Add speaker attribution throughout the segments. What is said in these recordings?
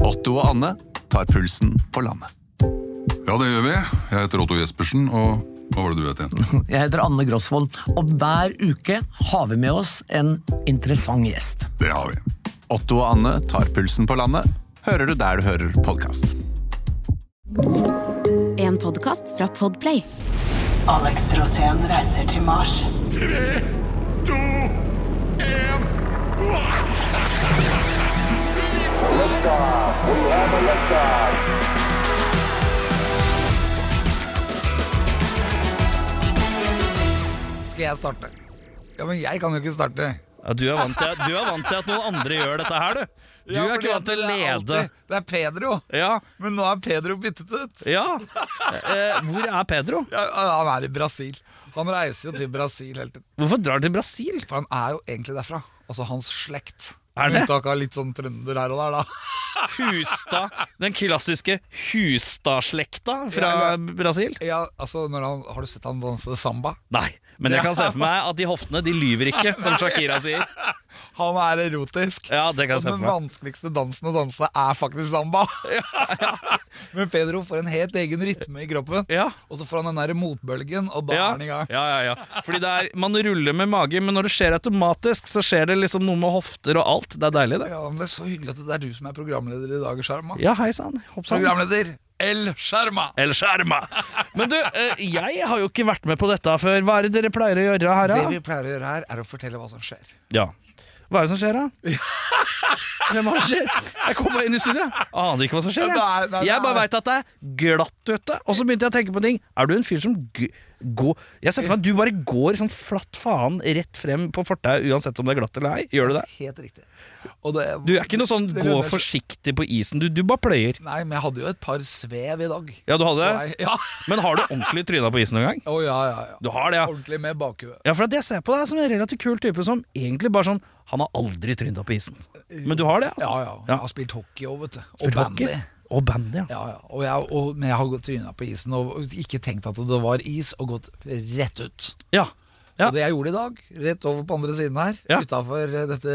Speaker 1: Otto og Anne tar pulsen på landet.
Speaker 2: Ja, det gjør vi. Jeg heter Otto Jespersen, og hva var det du het igjen?
Speaker 3: Jeg heter Anne Grosvold, og hver uke har vi med oss en interessant gjest.
Speaker 2: Det har vi.
Speaker 1: Otto og Anne tar pulsen på landet, hører du der du hører podkast.
Speaker 4: En podkast fra Podplay.
Speaker 5: Alex Rosén reiser til Mars.
Speaker 6: Skal jeg starte? Ja, men jeg kan jo ikke starte.
Speaker 7: Ja, du, er vant til, du er vant til at noen andre gjør dette her, du. Du
Speaker 6: Ja,
Speaker 7: er
Speaker 6: fordi
Speaker 7: ikke vant til å
Speaker 6: det er
Speaker 7: lede.
Speaker 6: alltid- Det er Pedro.
Speaker 7: Ja,
Speaker 6: Men nå er Pedro byttet ut.
Speaker 7: ja. Eh, hvor er Pedro?
Speaker 6: Ja, han er i Brasil. Han reiser jo til Brasil hele tiden.
Speaker 7: Hvorfor drar han til Brasil?
Speaker 6: For han er jo egentlig derfra. Altså hans slekt.
Speaker 7: Er det?
Speaker 6: Med unntak av litt sånn trønder her og der, da.
Speaker 7: Hustad. Den klassiske Hustad-slekta fra
Speaker 6: Ja, ja.
Speaker 7: Brasil.
Speaker 6: Ja, altså, når han, har du sett han danse samba?
Speaker 7: Nei, men jeg kan se for meg at de hoftene de lyver ikke, som Shakira sier.
Speaker 6: Han er erotisk.
Speaker 7: Ja, det kan jeg se
Speaker 6: Den
Speaker 7: for meg.
Speaker 6: vanskeligste dansen å danse er faktisk samba. Men Pedro får en helt egen rytme i kroppen,
Speaker 7: Ja.
Speaker 6: og så får han den der motbølgen, og da
Speaker 7: Ja,
Speaker 6: er han i
Speaker 7: ja,
Speaker 6: gang.
Speaker 7: ja, ja. Fordi det er, Man ruller med magen, men når det skjer automatisk, så skjer det liksom noe med hofter og alt. Det er deilig, det.
Speaker 6: Ja, men Det er så hyggelig at det er du som er programleder i dag, Sjarma.
Speaker 7: Ja, hei sann. Hopp sann.
Speaker 6: Programleder El Sjarma!
Speaker 7: Eller skjerma. Men du, eh, jeg har jo ikke vært med på dette før. Hva er det dere pleier å gjøre her,
Speaker 6: Det
Speaker 7: da?
Speaker 6: vi pleier å gjøre her, er å fortelle hva som skjer.
Speaker 7: Ja. Hva er det som skjer, da? Hvem har det skjer? Jeg kom bare inn i studio, jeg aner ikke hva som skjer.
Speaker 6: Nei, nei,
Speaker 7: Jeg,
Speaker 6: nei.
Speaker 7: jeg bare veit at det er glatt ute, og så begynte jeg å tenke på ting. Er du en fyr som g- går Jeg ser for meg at du bare går sånn flatt faen rett frem på fortauet uansett om det er glatt eller ei. Gjør du det?
Speaker 6: Helt riktig. Og det,
Speaker 7: Du er ikke noe sånn
Speaker 6: det
Speaker 7: 'gå
Speaker 6: lønner seg-
Speaker 7: forsiktig på isen', du, du bare pløyer.
Speaker 6: Nei, men jeg hadde jo et par svev i dag.
Speaker 7: Ja, du hadde
Speaker 6: Nei,
Speaker 7: det?
Speaker 6: Ja.
Speaker 7: Men har du ordentlig tryna på isen noen gang?
Speaker 6: Å ja, ja, ja.
Speaker 7: Du har det, ja.
Speaker 6: Ordentlig med bakhuet.
Speaker 7: Ja, for at jeg ser på deg som en relativt kul type som egentlig bare sånn Han har aldri trynet på isen. Men du har det,
Speaker 6: Ja,
Speaker 7: altså?
Speaker 6: ja. Jeg har spilt hockey òg, vet du. Og
Speaker 7: Spilt hockey?
Speaker 6: bandy.
Speaker 7: Og bandy, ja.
Speaker 6: Ja, ja. Og jeg, og, men jeg har gått tryna på isen og ikke tenkt at det var is, og gått rett ut.
Speaker 7: Ja. Ja.
Speaker 6: Og det jeg gjorde i dag, rett over på andre siden her,
Speaker 7: Ja.
Speaker 6: utafor dette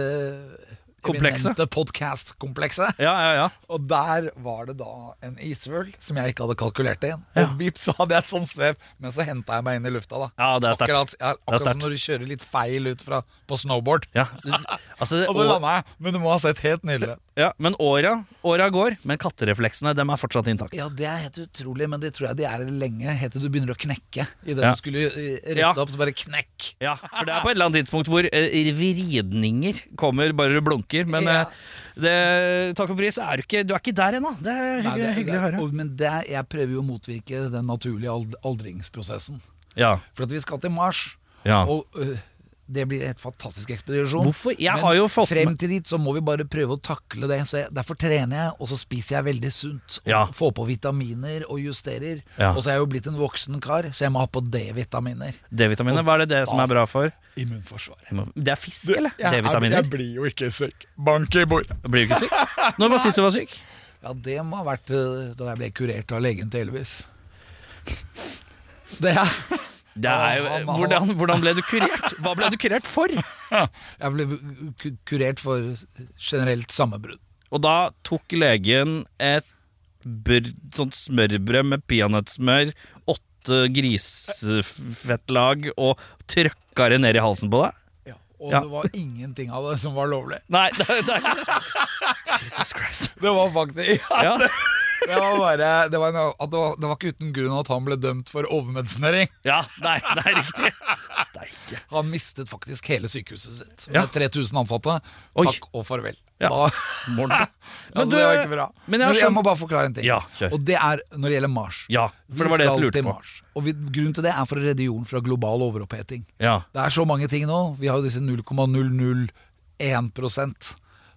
Speaker 7: Komplekset.
Speaker 6: eminente podcast-komplekset,
Speaker 7: Ja, ja, ja.
Speaker 6: og der var det da en isvøl som jeg ikke hadde kalkulert inn.
Speaker 7: Ja.
Speaker 6: Og vips, så hadde jeg et sånt svev, men så henta jeg meg inn i lufta, da.
Speaker 7: Ja, det er sterkt.
Speaker 6: akkurat ja,
Speaker 7: Det er
Speaker 6: akkurat
Speaker 7: sterkt.
Speaker 6: som når du kjører litt feil ut fra, på snowboard.
Speaker 7: ja. Altså, det,
Speaker 6: Og så landa jeg, men du må ha sett helt nydelig.
Speaker 7: ja men åra, åra går, men katterefleksene dem er fortsatt intakt.
Speaker 6: Ja, det er helt utrolig, men det tror jeg de er lenge, helt til du begynner å knekke. I det
Speaker 7: Ja.
Speaker 6: du skulle eh, rette
Speaker 7: Ja.
Speaker 6: opp, så bare knekk.
Speaker 7: Ja, for det er på et eller annet tidspunkt hvor eh, vridninger kommer bare du blunker, men
Speaker 6: Ja.
Speaker 7: eh, det, takk og pris, er du, ikke, du er ikke der ennå. Det er
Speaker 6: Nei,
Speaker 7: hyggelig,
Speaker 6: det-
Speaker 7: hyggelig å
Speaker 6: det-
Speaker 7: høre.
Speaker 6: og- Men det, er- jeg prøver jo å motvirke den naturlige ald aldringsprosessen.
Speaker 7: Ja.
Speaker 6: For at vi skal til Mars,
Speaker 7: Ja.
Speaker 6: og øh, det blir et fantastisk ekspedisjon.
Speaker 7: Hvorfor? Jeg
Speaker 6: men
Speaker 7: har jo fått
Speaker 6: frem
Speaker 7: med-
Speaker 6: til dit så må vi bare prøve å takle det. Så jeg, derfor trener jeg, og så spiser jeg veldig sunt. Og
Speaker 7: Ja.
Speaker 6: Får på vitaminer og justerer.
Speaker 7: Ja.
Speaker 6: Og så er jeg jo blitt en voksen kar, så jeg må ha på D-vitaminer.
Speaker 7: D-vitaminet, hva er det det som er bra for?
Speaker 6: Immunforsvaret.
Speaker 7: Det er fisk, eller?
Speaker 6: Jeg- Jeg,
Speaker 7: D-vitaminer?
Speaker 6: jeg blir jo ikke syk. Bank i bordet.
Speaker 7: Blir du ikke syk? Når var sist du var syk?
Speaker 6: Ja, det må ha vært øh, da jeg ble kurert av legen til Elvis. Det er
Speaker 7: Det er jo,
Speaker 6: Han- han-
Speaker 7: hvordan, hvordan ble du kurert? Hva ble du kurert for?
Speaker 6: Jeg ble ku- kurert for generelt sammenbrudd.
Speaker 7: Og da tok legen et br sånt smørbrød med peanøttsmør, åtte grisefettlag og trøkka det ned i halsen på deg?
Speaker 6: Og
Speaker 7: Ja.
Speaker 6: det var ingenting av det som var lovlig.
Speaker 7: Nei, det er det er ikke det. Jesus Christ.
Speaker 6: Det var faktisk
Speaker 7: Ja,
Speaker 6: Det var bare det var, en, at det, var, det var ikke uten grunn at han ble dømt for overmedisinering.
Speaker 7: ja nei, det er riktig. Steike.
Speaker 6: Han mistet faktisk hele sykehuset sitt.
Speaker 7: Ja.
Speaker 6: Med 3000 ansatte.
Speaker 7: Oi.
Speaker 6: Takk og farvel.
Speaker 7: Ja.
Speaker 6: Da,
Speaker 7: Morten.
Speaker 6: men det var ikke bra.
Speaker 7: Men jeg har
Speaker 6: jeg må
Speaker 7: skjønt
Speaker 6: bare forklare en ting.
Speaker 7: Ja, kjør.
Speaker 6: og det er når det gjelder Mars.
Speaker 7: Ja, for det var det jeg lurte på.
Speaker 6: Mars. Og vi, grunnen til det er for å redde jorden fra global overoppheting.
Speaker 7: Ja.
Speaker 6: Det er så mange ting nå. Vi har jo disse 0,001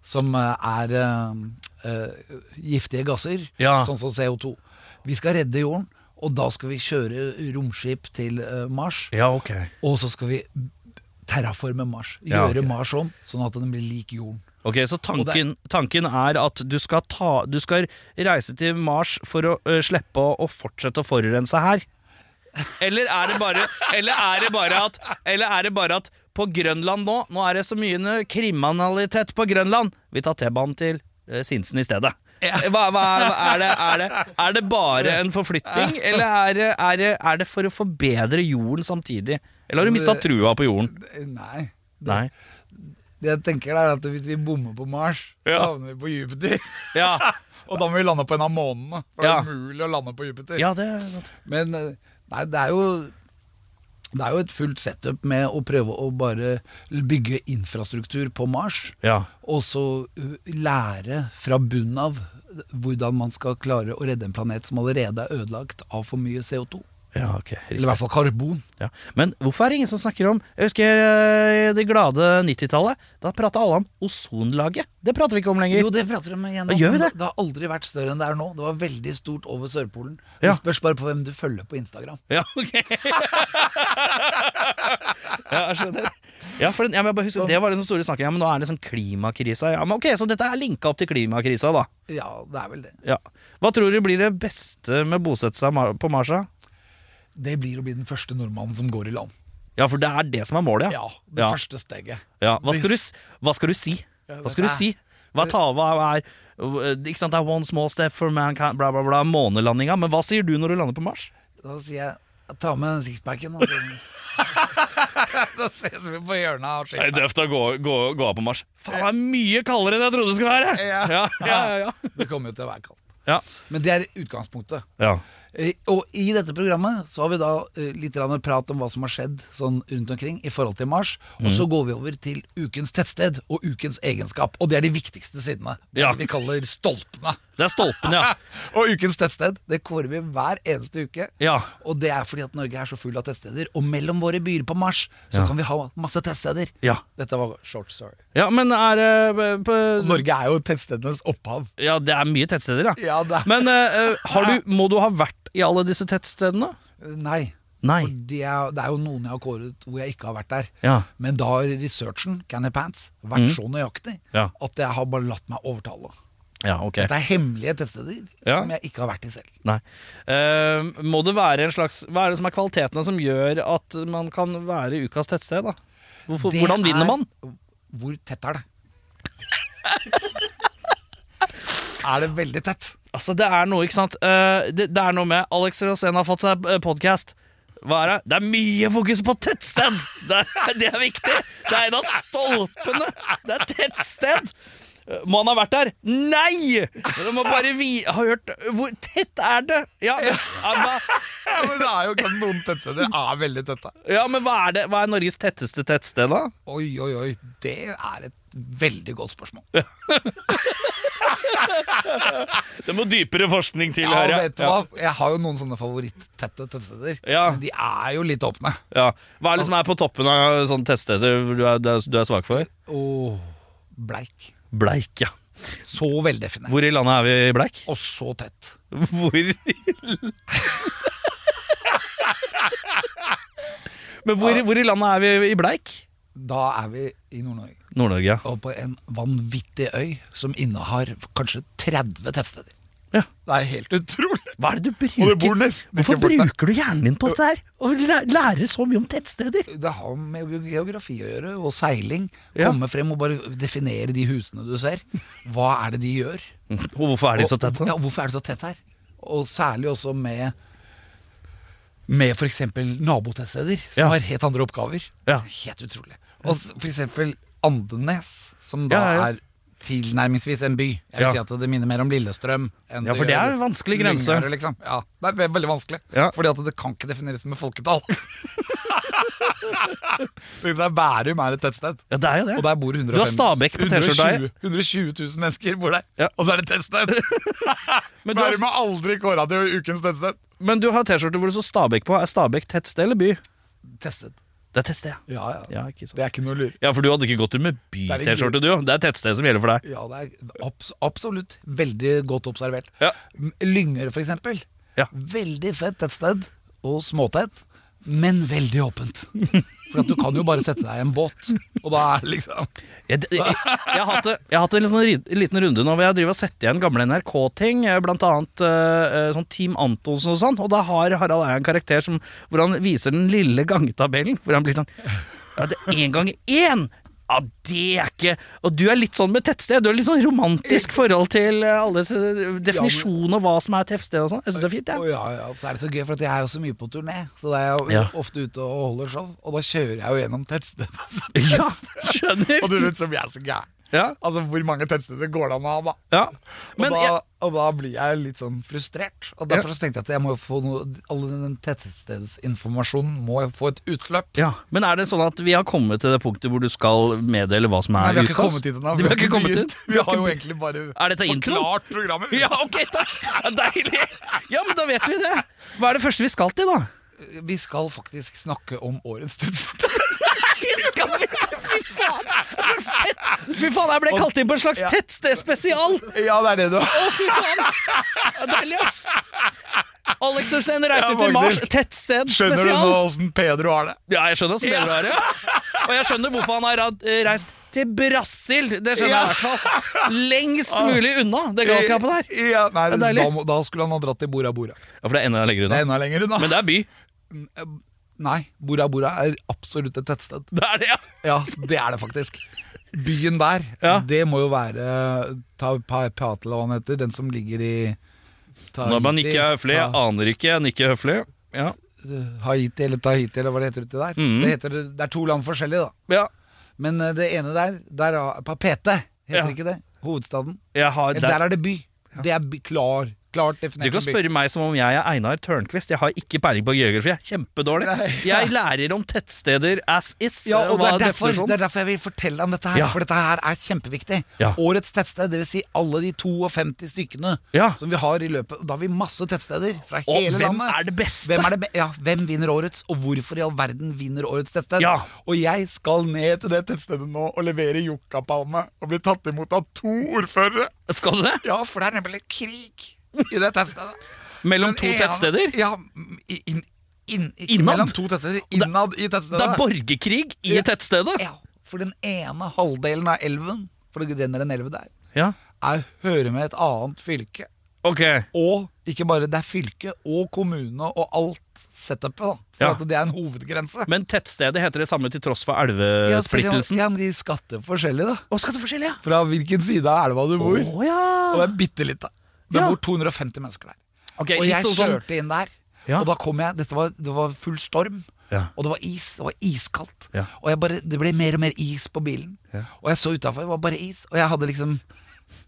Speaker 6: som eh, er eh, eh, giftige gasser,
Speaker 7: Ja.
Speaker 6: sånn som CO2. Vi skal redde jorden, og da skal vi kjøre romskip til eh, Mars.
Speaker 7: ja, ok.
Speaker 6: Og så skal vi terraforme Mars.
Speaker 7: Ja,
Speaker 6: Gjøre
Speaker 7: ok.
Speaker 6: Mars om, sånn at den blir lik jorden.
Speaker 7: Ok, Så tanken, tanken er at du skal, ta, du skal reise til Mars for å ø, slippe å, å fortsette å forurense her? Eller er det bare, eller er det bare at Eller er det bare at på Grønland nå Nå er det så mye kriminalitet på Grønland. Vi tar T-banen til ø, Sinsen i stedet. Hva, hva, hva er, det, er, det, er det bare en forflytting, eller er det, er, det, er det for å forbedre jorden samtidig? Eller har du mista trua på jorden?
Speaker 6: Nei.
Speaker 7: Nei.
Speaker 6: Det jeg tenker er at Hvis vi bommer på Mars, så
Speaker 7: Ja.
Speaker 6: havner vi på Jupiter.
Speaker 7: Ja,
Speaker 6: Og da må vi lande på en av månene. For
Speaker 7: Ja.
Speaker 6: det er umulig å lande på Jupiter.
Speaker 7: ja det er sant.
Speaker 6: Men eh, nei, det er jo det er jo et fullt setup med å prøve å bare bygge infrastruktur på Mars.
Speaker 7: Ja.
Speaker 6: Og så uh, lære fra bunnen av hvordan man skal klare å redde en planet som allerede er ødelagt av for mye CO2.
Speaker 7: ja, ok.
Speaker 6: Eller i hvert fall karbon.
Speaker 7: Ja. Men hvorfor er det ingen som snakker om Jeg husker eh, det glade 90-tallet. Da prata alle om ozonlaget. Det prater vi ikke om lenger.
Speaker 6: Jo, det prater de om igjen.
Speaker 7: Gjør vi det?
Speaker 6: det har aldri vært større enn det er nå. Det var veldig stort over Sørpolen.
Speaker 7: Ja.
Speaker 6: Det spørs bare på hvem du følger på Instagram.
Speaker 7: Ja, ok Ja, jeg skjønner. Ja, for den, ja, men jeg bare husker, det var den store snakken. Ja, men nå er det sånn klimakrisa. Ja, men ok, Så dette er linka opp til klimakrisa, da.
Speaker 6: Ja, det er vel det.
Speaker 7: Ja. Hva tror du blir det beste med å bosette seg ma- på Marsa?
Speaker 6: Det blir å bli den første nordmannen som går i land.
Speaker 7: Ja, for det er det som er målet,
Speaker 6: Ja,
Speaker 7: ja.
Speaker 6: det første steget.
Speaker 7: Ja, Hva, skal du, s- hva skal du si? Hva skal du si? Hva, ta, hva er eh, ikke sant, Det er one small step for mankind, bla, bla, bla. Månelandinga. Men hva sier du når du lander på Mars?
Speaker 6: Da sier jeg ta med den sixpacken. og så- da ses vi på hjørnet av
Speaker 7: Det er
Speaker 6: skipet.
Speaker 7: døvt å gå, gå, gå av på Mars. Faen, det er mye kaldere enn jeg trodde det skulle være! Ja, ja, ja, ja.
Speaker 6: Det kommer jo til å være kaldt.
Speaker 7: ja.
Speaker 6: Men det er utgangspunktet.
Speaker 7: Ja.
Speaker 6: Eh, Og i dette programmet så har vi da eh, litt grann prat om hva som har skjedd sånn rundt omkring i forhold til Mars. Og
Speaker 7: Mhm.
Speaker 6: så går vi over til ukens tettsted og ukens egenskap. Og det er de viktigste sidene. Det er
Speaker 7: Ja.
Speaker 6: det vi kaller stolpene.
Speaker 7: Det er stolpen, ja.
Speaker 6: Og ukens tettsted det kårer vi hver eneste uke.
Speaker 7: Ja.
Speaker 6: Og det er fordi at Norge er så full av tettsteder. Og mellom våre byer på Mars så
Speaker 7: Ja.
Speaker 6: kan vi ha masse tettsteder.
Speaker 7: Ja.
Speaker 6: Dette var short story.
Speaker 7: ja men er det på-
Speaker 6: Norge er jo tettstedenes opphav.
Speaker 7: Ja, det er mye tettsteder, ja.
Speaker 6: Ja, det er
Speaker 7: Men eh, eh, har du, må du ha vært i alle disse tettstedene?
Speaker 6: Nei.
Speaker 7: Nei.
Speaker 6: For det er, det er jo noen jeg har kåret hvor jeg ikke har vært der.
Speaker 7: Ja. Mm.
Speaker 6: Men da har researchen, Canny Pants, vært så nøyaktig
Speaker 7: Ja.
Speaker 6: at jeg har bare latt meg overtale.
Speaker 7: Ja, ok.
Speaker 6: Dette er hemmelige tettsteder
Speaker 7: Ja.
Speaker 6: som jeg ikke har vært i selv.
Speaker 7: Nei. Eh, må det være en slags Hva er det som er kvalitetene som gjør at man kan være ukas tettsted, da? Hvorfor,
Speaker 6: Det
Speaker 7: hvordan vinner
Speaker 6: er-
Speaker 7: man?
Speaker 6: Hvor tett er det? er det veldig tett?
Speaker 7: Altså, det er noe, ikke sant? Eh, det, det er noe med Alex Rosén har fått seg podkast. Hva er det? Det er mye fokus på tettsted! Det er, det er viktig! Det er en av stolpene! Det er tettsted! Eh, Må han ha vært der? Nei! Men Du må bare vi ha hørt Hvor tett er det? Ja, men- ja, hva,
Speaker 6: Ja, men det er jo ikke noen tettsteder er veldig tette.
Speaker 7: ja men hva er, det, hva er Norges tetteste tettsted, da?
Speaker 6: Oi, oi, oi. Det er et veldig godt spørsmål.
Speaker 7: Det må dypere forskning til,
Speaker 6: Ja, og
Speaker 7: hører jeg.
Speaker 6: vet du hva? Jeg har jo noen sånne favorittette tettsteder,
Speaker 7: Ja.
Speaker 6: men de er jo litt åpne.
Speaker 7: Ja. Hva er det som er på toppen av sånne tettsteder du er, du er- du er svak for?
Speaker 6: Og bleik.
Speaker 7: Bleik, ja.
Speaker 6: Så veldefinert.
Speaker 7: Hvor i landet er vi i Bleik?
Speaker 6: Og så tett.
Speaker 7: Hvor Men hvor, hvor i landet er vi i Bleik?
Speaker 6: Da er vi i Nord-Norge.
Speaker 7: Nord-Norge, ja.
Speaker 6: Og på en vanvittig øy som innehar kanskje 30 tettsteder.
Speaker 7: Ja.
Speaker 6: Det er helt utrolig.
Speaker 7: Hva er det du
Speaker 6: Og
Speaker 7: bruker?
Speaker 6: det bor nesten ikke
Speaker 7: Hvorfor
Speaker 6: folk der.
Speaker 7: bruker du hjernen din på dette her? Og læ- lærer så mye om tettsteder?
Speaker 6: Det har med geografi å gjøre, og seiling.
Speaker 7: Ja.
Speaker 6: Komme frem og bare definere de husene du ser. Hva er det de gjør?
Speaker 7: Og hvorfor er de så
Speaker 6: Og-
Speaker 7: tette?
Speaker 6: Ja, hvorfor er det så tett her? Og særlig også med med f.eks. nabotettsteder, som
Speaker 7: Ja.
Speaker 6: har helt andre oppgaver.
Speaker 7: Ja.
Speaker 6: Helt utrolig. Og f.eks. Andenes, som da
Speaker 7: Ja, ja, ja.
Speaker 6: er tilnærmingsvis en by. Jeg vil
Speaker 7: Ja.
Speaker 6: si at Det minner mer om Lillestrøm. enn
Speaker 7: Ja, for det er
Speaker 6: gjør
Speaker 7: en vanskelig grense.
Speaker 6: Lyngøre, liksom. Ja, det er ve- veldig vanskelig.
Speaker 7: Ja.
Speaker 6: Fordi at det kan ikke defineres med folketall. Fordi det er Bærum er et tettsted.
Speaker 7: Ja, det er jo
Speaker 6: Og
Speaker 7: det.
Speaker 6: der bor 105
Speaker 7: Du har Stabekk på T-skjorta her.
Speaker 6: 120 120 000 mennesker bor der,
Speaker 7: Ja.
Speaker 6: og så er det tettsted!
Speaker 7: Men du har,
Speaker 6: Bærum har aldri kåra til ukens tettsted.
Speaker 7: men du har T-skjorte hvor det står Stabekk på. Er Stabekk tettsted eller by?
Speaker 6: Testet.
Speaker 7: Det er tettsted, ja.
Speaker 6: Ja, ja.
Speaker 7: Ja, ikke sant.
Speaker 6: Det er ikke noe lur.
Speaker 7: Ja, for du hadde ikke gått ut med
Speaker 6: Det er ikke-
Speaker 7: by-T-skjorte, du. Det er tettsted som gjelder for deg.
Speaker 6: Ja, det er abs absolutt veldig godt observert.
Speaker 7: Ja.
Speaker 6: M- Lyngør, for eksempel.
Speaker 7: Ja.
Speaker 6: Veldig fett tettsted, og småtett, men veldig åpent. For at du kan jo bare sette deg i en båt, og da er det liksom
Speaker 7: Jeg, jeg, jeg, jeg, har hatt, jeg har hatt en litt sånn ri- liten runde nå hvor jeg driver og setter igjen gamle NRK-ting, eh, blant annet eh, eh, sånn Team Antonsen og sånn, og da har Harald Eia en karakter som, hvor han viser den lille gangetabellen, hvor han blir sånn ja, det er Én ganger én! Ja, det er ikke Og du er litt sånn med tettsted. Du har litt sånn romantisk forhold til eh, alle disse definisjonene og hva som er tettsted og sånn. Jeg syns det er fint,
Speaker 6: Å,
Speaker 7: jeg.
Speaker 6: ja, ja, så er det så gøy, for at jeg er jo så mye på turné. Så da er jeg jo
Speaker 7: Ja.
Speaker 6: ofte ute og holder show, og da kjører jeg jo gjennom tettsteder.
Speaker 7: Ja,
Speaker 6: og
Speaker 7: skjønner.
Speaker 6: til slutt så blir jeg så gæren.
Speaker 7: Ja,
Speaker 6: Altså, hvor mange tettsteder går det an å ha, da?
Speaker 7: ja.
Speaker 6: Og,
Speaker 7: Men
Speaker 6: da
Speaker 7: jeg,
Speaker 6: og da blir jeg litt sånn frustrert. Og derfor så tenkte jeg at jeg må jo få noe all den tettstedsinformasjonen må jo få et utløp.
Speaker 7: ja, men er det sånn at vi har kommet til det punktet hvor du skal meddele hva som
Speaker 6: Nei,
Speaker 7: er
Speaker 6: vi har ikke
Speaker 7: ukas?
Speaker 6: kommet hit ennå.
Speaker 7: Vi har ikke kommet
Speaker 6: begynt.
Speaker 7: hit?
Speaker 6: Vi har jo egentlig bare
Speaker 7: Er dette introen?
Speaker 6: forklart programmet. vi.
Speaker 7: Ja, ok, takk! Ja, Deilig! Ja, men da vet vi det. Hva er det første vi skal til, da?
Speaker 6: Vi skal faktisk snakke om årets tettsteder.
Speaker 7: Vi skal vi Fy faen! En slags tett... Fy faen, jeg ble kalt inn på en slags
Speaker 6: Ja.
Speaker 7: tettstedspesial!
Speaker 6: Ja, det er det du har.
Speaker 7: Å, fy faen! Det er deilig, ass! Alex Rosén reiser
Speaker 6: Ja,
Speaker 7: til Mars,
Speaker 6: Magnus.
Speaker 7: tettsted
Speaker 6: Skjønner du nå
Speaker 7: spesial.
Speaker 6: åssen Pedro har det?
Speaker 7: Ja, jeg skjønner hvordan det er. ja. Og jeg skjønner hvorfor han har rad- eh, reist til Brasil. Det skjønner
Speaker 6: Ja.
Speaker 7: jeg i hvert fall. Lengst mulig unna det galskapet der.
Speaker 6: Ja, nei,
Speaker 7: Det er deilig.
Speaker 6: da, må- da skulle han ha dratt til Bora Bora.
Speaker 7: Ja, For det er enda lenger
Speaker 6: Det
Speaker 7: unna.
Speaker 6: er enda lenger unna.
Speaker 7: Men det er by.
Speaker 6: Nei, Bora Bora er absolutt et tettsted.
Speaker 7: Det er det, ja.
Speaker 6: Ja, det er det faktisk. Byen der,
Speaker 7: Ja.
Speaker 6: det må jo være Ta Patel, hva han heter, den som ligger i Tahiti,
Speaker 7: Når man ikke er høflig, jeg
Speaker 6: Ta-
Speaker 7: aner ikke, jeg nikker høflig. Ja.
Speaker 6: Haiti eller Tahiti, eller hva det heter uti der.
Speaker 7: Mhm.
Speaker 6: Det, heter, det er to land forskjellig, da.
Speaker 7: ja.
Speaker 6: Men eh, det ene der, der er Papete, heter
Speaker 7: Ja.
Speaker 6: ikke det? Hovedstaden.
Speaker 7: Jeg har,
Speaker 6: Eller
Speaker 7: der,
Speaker 6: der er det by. Det er by, klar, klart
Speaker 7: du
Speaker 6: definert
Speaker 7: kan
Speaker 6: som by.
Speaker 7: spørre meg som om jeg er Einar Tørnquist. Jeg har ikke peiling på geografi. Jeg er kjempedårlig. Jeg lærer om tettsteder as is.
Speaker 6: Ja, eh, og det
Speaker 7: hva
Speaker 6: er, derfor,
Speaker 7: definisjonen-
Speaker 6: det er derfor jeg vil fortelle om dette her,
Speaker 7: Ja.
Speaker 6: for dette her er kjempeviktig.
Speaker 7: Ja.
Speaker 6: Årets tettsted, dvs. Si alle de 52 stykkene
Speaker 7: Ja.
Speaker 6: som vi har i løpet. Da har vi masse tettsteder fra
Speaker 7: Og
Speaker 6: hele
Speaker 7: hvem
Speaker 6: landet.
Speaker 7: er det beste?
Speaker 6: Hvem, er det be ja, hvem vinner årets, og hvorfor i all verden vinner årets tettsted?
Speaker 7: Ja.
Speaker 6: Og jeg skal ned til det tettstedet nå og levere yuccapalme og bli tatt imot av to ordførere.
Speaker 7: Skal du det?
Speaker 6: Ja, for det er nemlig krig i det tettstedet.
Speaker 7: Mellom
Speaker 6: Den
Speaker 7: to
Speaker 6: ene-
Speaker 7: tettsteder?
Speaker 6: Ja, i- inn, inn, ikke
Speaker 7: Innad?
Speaker 6: mellom to tettsteder. Innad i tettstedet.
Speaker 7: Det er borgerkrig i
Speaker 6: Ja.
Speaker 7: tettstedet?
Speaker 6: Ja, for den ene halvdelen av elven, for det renner en elve der,
Speaker 7: Ja.
Speaker 6: er hører med et annet fylke.
Speaker 7: Ok.
Speaker 6: Og ikke bare det er fylke, og kommune og alt setupet, da. For
Speaker 7: Ja.
Speaker 6: at det er en hovedgrense.
Speaker 7: Men eh, tettstedet heter det samme til tross for
Speaker 6: Ja, spesielt-
Speaker 7: elvesplittelsen?
Speaker 6: Ja, men de skatter forskjellig, da.
Speaker 7: Å, skal det forskjellig, ja?
Speaker 6: Fra hvilken side av elva du bor.
Speaker 7: Å ja!
Speaker 6: Og det er bitte litt, da. Det
Speaker 7: Ja.
Speaker 6: bor 250 mennesker der.
Speaker 7: Ok,
Speaker 6: og
Speaker 7: litt
Speaker 6: jeg
Speaker 7: sånn som-
Speaker 6: kjørte inn der,
Speaker 7: Ja.
Speaker 6: og da kom jeg Dette var, det var full storm,
Speaker 7: Ja.
Speaker 6: og det var is. Det var iskaldt.
Speaker 7: Ja.
Speaker 6: Og jeg bare, det ble mer og mer is på bilen. Og jeg så utafor, det var bare is. Og jeg hadde liksom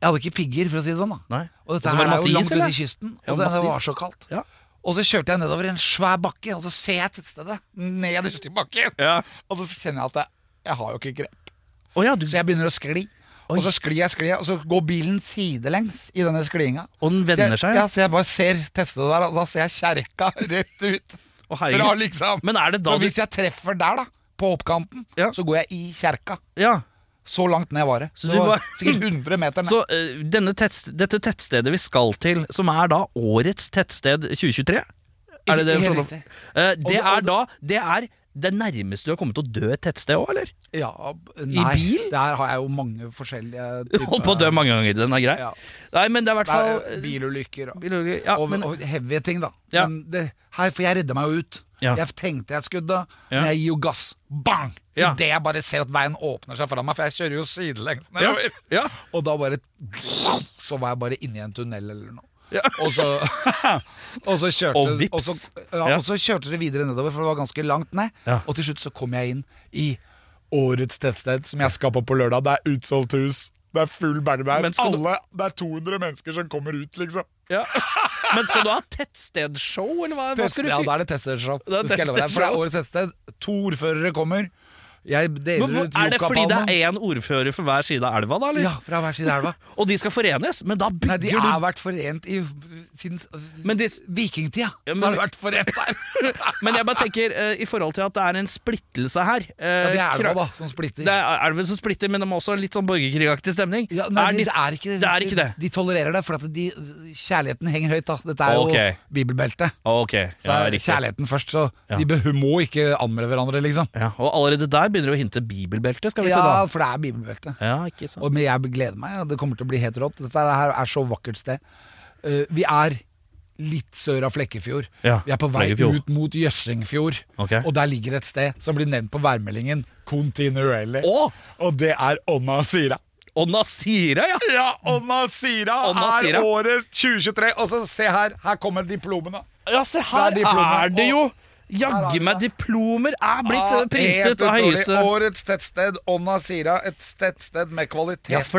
Speaker 6: Jeg hadde ikke pigger, for å si det sånn. da
Speaker 7: Nei.
Speaker 6: Og
Speaker 7: Og
Speaker 6: dette
Speaker 7: så var det
Speaker 6: her er
Speaker 7: masse
Speaker 6: jo
Speaker 7: is,
Speaker 6: langt
Speaker 7: eller?
Speaker 6: ute i kysten,
Speaker 7: Ja,
Speaker 6: og det,
Speaker 7: masse
Speaker 6: det var
Speaker 7: is.
Speaker 6: så kaldt.
Speaker 7: Ja.
Speaker 6: Og så kjørte jeg nedover en svær bakke, og så ser jeg tettstedet nederst i bakken.
Speaker 7: Ja.
Speaker 6: Og så kjenner jeg at jeg, jeg har jo ikke grep.
Speaker 7: Å ja, du,
Speaker 6: Så jeg begynner å skli. Og så sklir jeg, sklir jeg, og så går bilen sidelengs i denne sklinga.
Speaker 7: Og den vender
Speaker 6: Så jeg-
Speaker 7: seg, ja.
Speaker 6: Ja, så jeg bare ser testet der, og da ser jeg kjerka rett ut.
Speaker 7: Å, herregud.
Speaker 6: fra liksom.
Speaker 7: Men er det da
Speaker 6: så
Speaker 7: du-
Speaker 6: hvis jeg treffer der, da, på oppkanten,
Speaker 7: Ja.
Speaker 6: så går jeg i kjerka.
Speaker 7: ja.
Speaker 6: Så langt ned var det.
Speaker 7: Så
Speaker 6: det
Speaker 7: du
Speaker 6: var
Speaker 7: var-
Speaker 6: sikkert 100 meter ned.
Speaker 7: Så eh, denne tetts- dette tettstedet vi skal til, som er da årets tettsted 2023 Er det det?
Speaker 6: Helt
Speaker 7: sånn-
Speaker 6: riktig.
Speaker 7: Eh,
Speaker 6: Og
Speaker 7: det
Speaker 6: det-
Speaker 7: er
Speaker 6: og det-
Speaker 7: da Det er det nærmeste du har kommet til å dø et tettsted òg, eller?
Speaker 6: Ja, b- nei,
Speaker 7: bil?
Speaker 6: Der har jeg jo mange forskjellige typer
Speaker 7: Holdt på å dø mange ganger, den er grei.
Speaker 6: Ja. eh,
Speaker 7: Nei, men det er i hvert
Speaker 6: Det
Speaker 7: fall
Speaker 6: er Bilulykker og,
Speaker 7: Bilulykker, ja,
Speaker 6: og,
Speaker 7: men-
Speaker 6: og heavy ting, da.
Speaker 7: Ja.
Speaker 6: Men det, her, for jeg redda meg jo ut.
Speaker 7: Ja.
Speaker 6: Jeg tenkte jeg skudde,
Speaker 7: Ja.
Speaker 6: men jeg gir jo gass. Bang!
Speaker 7: Ja.
Speaker 6: Idet jeg bare ser at veien åpner seg foran meg, for jeg kjører jo sidelengs
Speaker 7: ja,
Speaker 6: nedover.
Speaker 7: ja,
Speaker 6: Og da bare Så var jeg bare inni en tunnel eller noe.
Speaker 7: Ja.
Speaker 6: Og så, og så kjørte
Speaker 7: Og vips.
Speaker 6: og så, ja,
Speaker 7: Ja.
Speaker 6: og så kjørte det videre nedover, for det var ganske langt ned.
Speaker 7: Ja.
Speaker 6: Og til slutt så kom jeg inn i årets tettsted, som jeg skal på på lørdag. Det er utsolgt hus. Det er full bag der.
Speaker 7: Men skal du-
Speaker 6: Alle, det er 200 mennesker som kommer ut, liksom.
Speaker 7: ja. Men skal du ha tettstedshow, eller hva, hva skal du
Speaker 6: ja,
Speaker 7: fy-
Speaker 6: da er det tettsted-show.
Speaker 7: Da er det
Speaker 6: Det skal jeg love deg, For det er årets tettsted. To ordførere kommer. Jeg
Speaker 7: men,
Speaker 6: deler
Speaker 7: hvor-
Speaker 6: ut
Speaker 7: Er det fordi det
Speaker 6: yuccapalme.
Speaker 7: er én ordfører for hver side av elva, da? Eller?
Speaker 6: Ja, fra hver side av elva.
Speaker 7: Og de skal forenes? Men da
Speaker 6: Nei,
Speaker 7: bygger
Speaker 6: de har vært forent i siden
Speaker 7: Men de-
Speaker 6: vikingtida.
Speaker 7: Ja,
Speaker 6: så har
Speaker 7: men-
Speaker 6: de vært forent der.
Speaker 7: du Men jeg bare tenker, eh, i forhold til at det er en splittelse her
Speaker 6: Ja,
Speaker 7: eh,
Speaker 6: det er elva,
Speaker 7: kra-
Speaker 6: da, som splitter.
Speaker 7: Det er elven som splitter, men det må også ha litt sånn borgerkrigaktig stemning.
Speaker 6: ja, nei,
Speaker 7: Er nis-
Speaker 6: men det er ikke det.
Speaker 7: det er ikke det.
Speaker 6: De, de tolererer det, for at de, kjærligheten henger høyt. da Dette er jo
Speaker 7: Ok.
Speaker 6: bibelbeltet.
Speaker 7: Ah, Ok,
Speaker 6: Så
Speaker 7: ja,
Speaker 6: er
Speaker 7: riktig.
Speaker 6: kjærligheten først, så
Speaker 7: Ja.
Speaker 6: de beh- må ikke anmelde hverandre, liksom.
Speaker 7: Ja, og allerede der begynner det å hinte bibelbelte, skal vi til
Speaker 6: Ja,
Speaker 7: da?
Speaker 6: for det er bibelbeltet.
Speaker 7: Ja, ikke sant.
Speaker 6: Og, men jeg gleder meg. ja. Det kommer til å bli helt rått. Dette her er så vakkert sted. Eh, vi er litt sør av Flekkefjord.
Speaker 7: Ja,
Speaker 6: Vi er på vei
Speaker 7: Flekkefjord.
Speaker 6: ut mot Jøssingfjord,
Speaker 7: Ok.
Speaker 6: og der ligger et sted som blir nevnt på værmeldingen kontinuerlig.
Speaker 7: Å!
Speaker 6: Og det er Onna Sira.
Speaker 7: Og Nasira, ja!
Speaker 6: Ja, Onna Sira
Speaker 7: Onna
Speaker 6: er
Speaker 7: Sira.
Speaker 6: året 2023. Og så se her, her kommer diplomene.
Speaker 7: Ja, se
Speaker 6: Der
Speaker 7: her
Speaker 6: er diplomer.
Speaker 7: er det jo
Speaker 6: Her har
Speaker 7: Jagge
Speaker 6: vi
Speaker 7: meg
Speaker 6: det.
Speaker 7: diplomer er blitt
Speaker 6: Ja,
Speaker 7: eh, printet
Speaker 6: helt
Speaker 7: av
Speaker 6: utrolig.
Speaker 7: høyeste
Speaker 6: Årets tettsted, Onna Sira. Et tettsted med
Speaker 7: Ja, for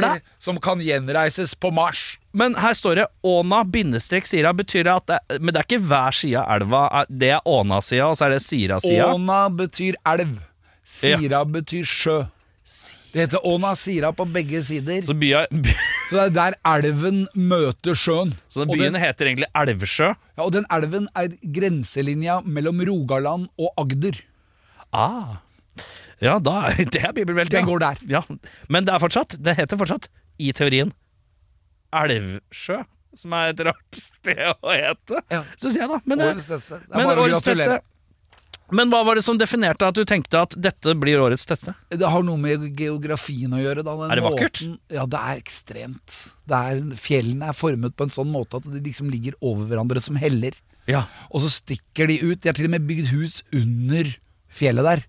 Speaker 6: kvaliteter
Speaker 7: det-
Speaker 6: som kan gjenreises på Mars.
Speaker 7: Men her står det Åna bindestrek Sira betyr det at det, Men det er ikke hver side av elva. er- Det er Åna-sida, og så er det Sira-sida.
Speaker 6: Åna betyr elv. Sira betyr sjø. Det heter Åna Sira på begge sider.
Speaker 7: Så, bya, by,
Speaker 6: Så det er der elven møter sjøen.
Speaker 7: så
Speaker 6: og,
Speaker 7: byen
Speaker 6: den,
Speaker 7: heter egentlig Elvesjø.
Speaker 6: ja, og den elven er grenselinja mellom Rogaland og Agder.
Speaker 7: Ah. Ja, da er det er bibelbeltet.
Speaker 6: Den
Speaker 7: ja.
Speaker 6: går der.
Speaker 7: Ja. Men det er fortsatt Det heter fortsatt, i teorien, Elvsjø. Som er et rart sted å hete,
Speaker 6: Ja.
Speaker 7: syns jeg, da. Men, eh,
Speaker 6: Årets tettsted. Det er
Speaker 7: men,
Speaker 6: bare å
Speaker 7: årets
Speaker 6: gratulere.
Speaker 7: tettsted. men hva var det som definerte at du tenkte at dette blir årets tettsted?
Speaker 6: Det har noe med geografien å gjøre. Da. Den
Speaker 7: Er det vakkert?
Speaker 6: Måten, ja, det er ekstremt. Det er, fjellene er formet på en sånn måte at de liksom ligger over hverandre som heller.
Speaker 7: Ja.
Speaker 6: Og så stikker de ut. De har til og med bygd hus under fjellet der.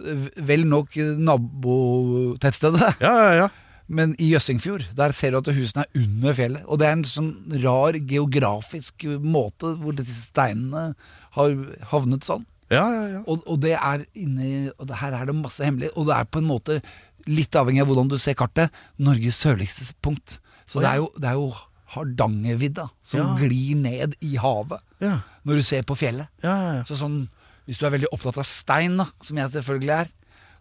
Speaker 6: Vel nok nabotettstedet,
Speaker 7: Ja, ja, ja.
Speaker 6: men i Jøssingfjord der ser du at husene er under fjellet. Og det er en sånn rar geografisk måte hvor disse steinene har havnet sånn.
Speaker 7: ja, ja, ja.
Speaker 6: Og, og det er inni og det, Her er det masse hemmelig, og det er på en måte, litt avhengig av hvordan du ser kartet, Norges sørligste punkt. Så det er jo, det er jo Hardangervidda som
Speaker 7: Ja.
Speaker 6: glir ned i havet
Speaker 7: Ja.
Speaker 6: når du ser på fjellet.
Speaker 7: Ja, ja, ja.
Speaker 6: Så sånn, hvis du er veldig opptatt av stein, da, som jeg selvfølgelig er,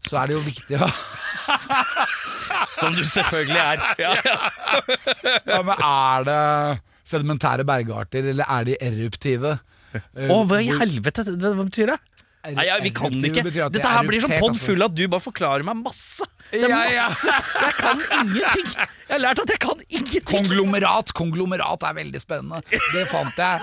Speaker 6: så er det jo viktig å
Speaker 7: Som du selvfølgelig er. Ja, ja.
Speaker 6: ja, men Er det sedimentære bergarter, eller er de eruptive? Eh,
Speaker 7: Å, hva i helvete? det- det- Hva betyr det?
Speaker 6: Er-
Speaker 7: Nei, ja, vi kan
Speaker 6: eruptive
Speaker 7: ikke.
Speaker 6: betyr at de
Speaker 7: Dette
Speaker 6: er
Speaker 7: her blir sånn
Speaker 6: eruptert,
Speaker 7: podd
Speaker 6: altså.
Speaker 7: full av at du bare forklarer meg masse. Det er
Speaker 6: Ja, ja.
Speaker 7: masse. Jeg kan ingenting. Jeg har lært at jeg kan ingenting.
Speaker 6: Konglomerat. Konglomerat er veldig spennende. Det fant jeg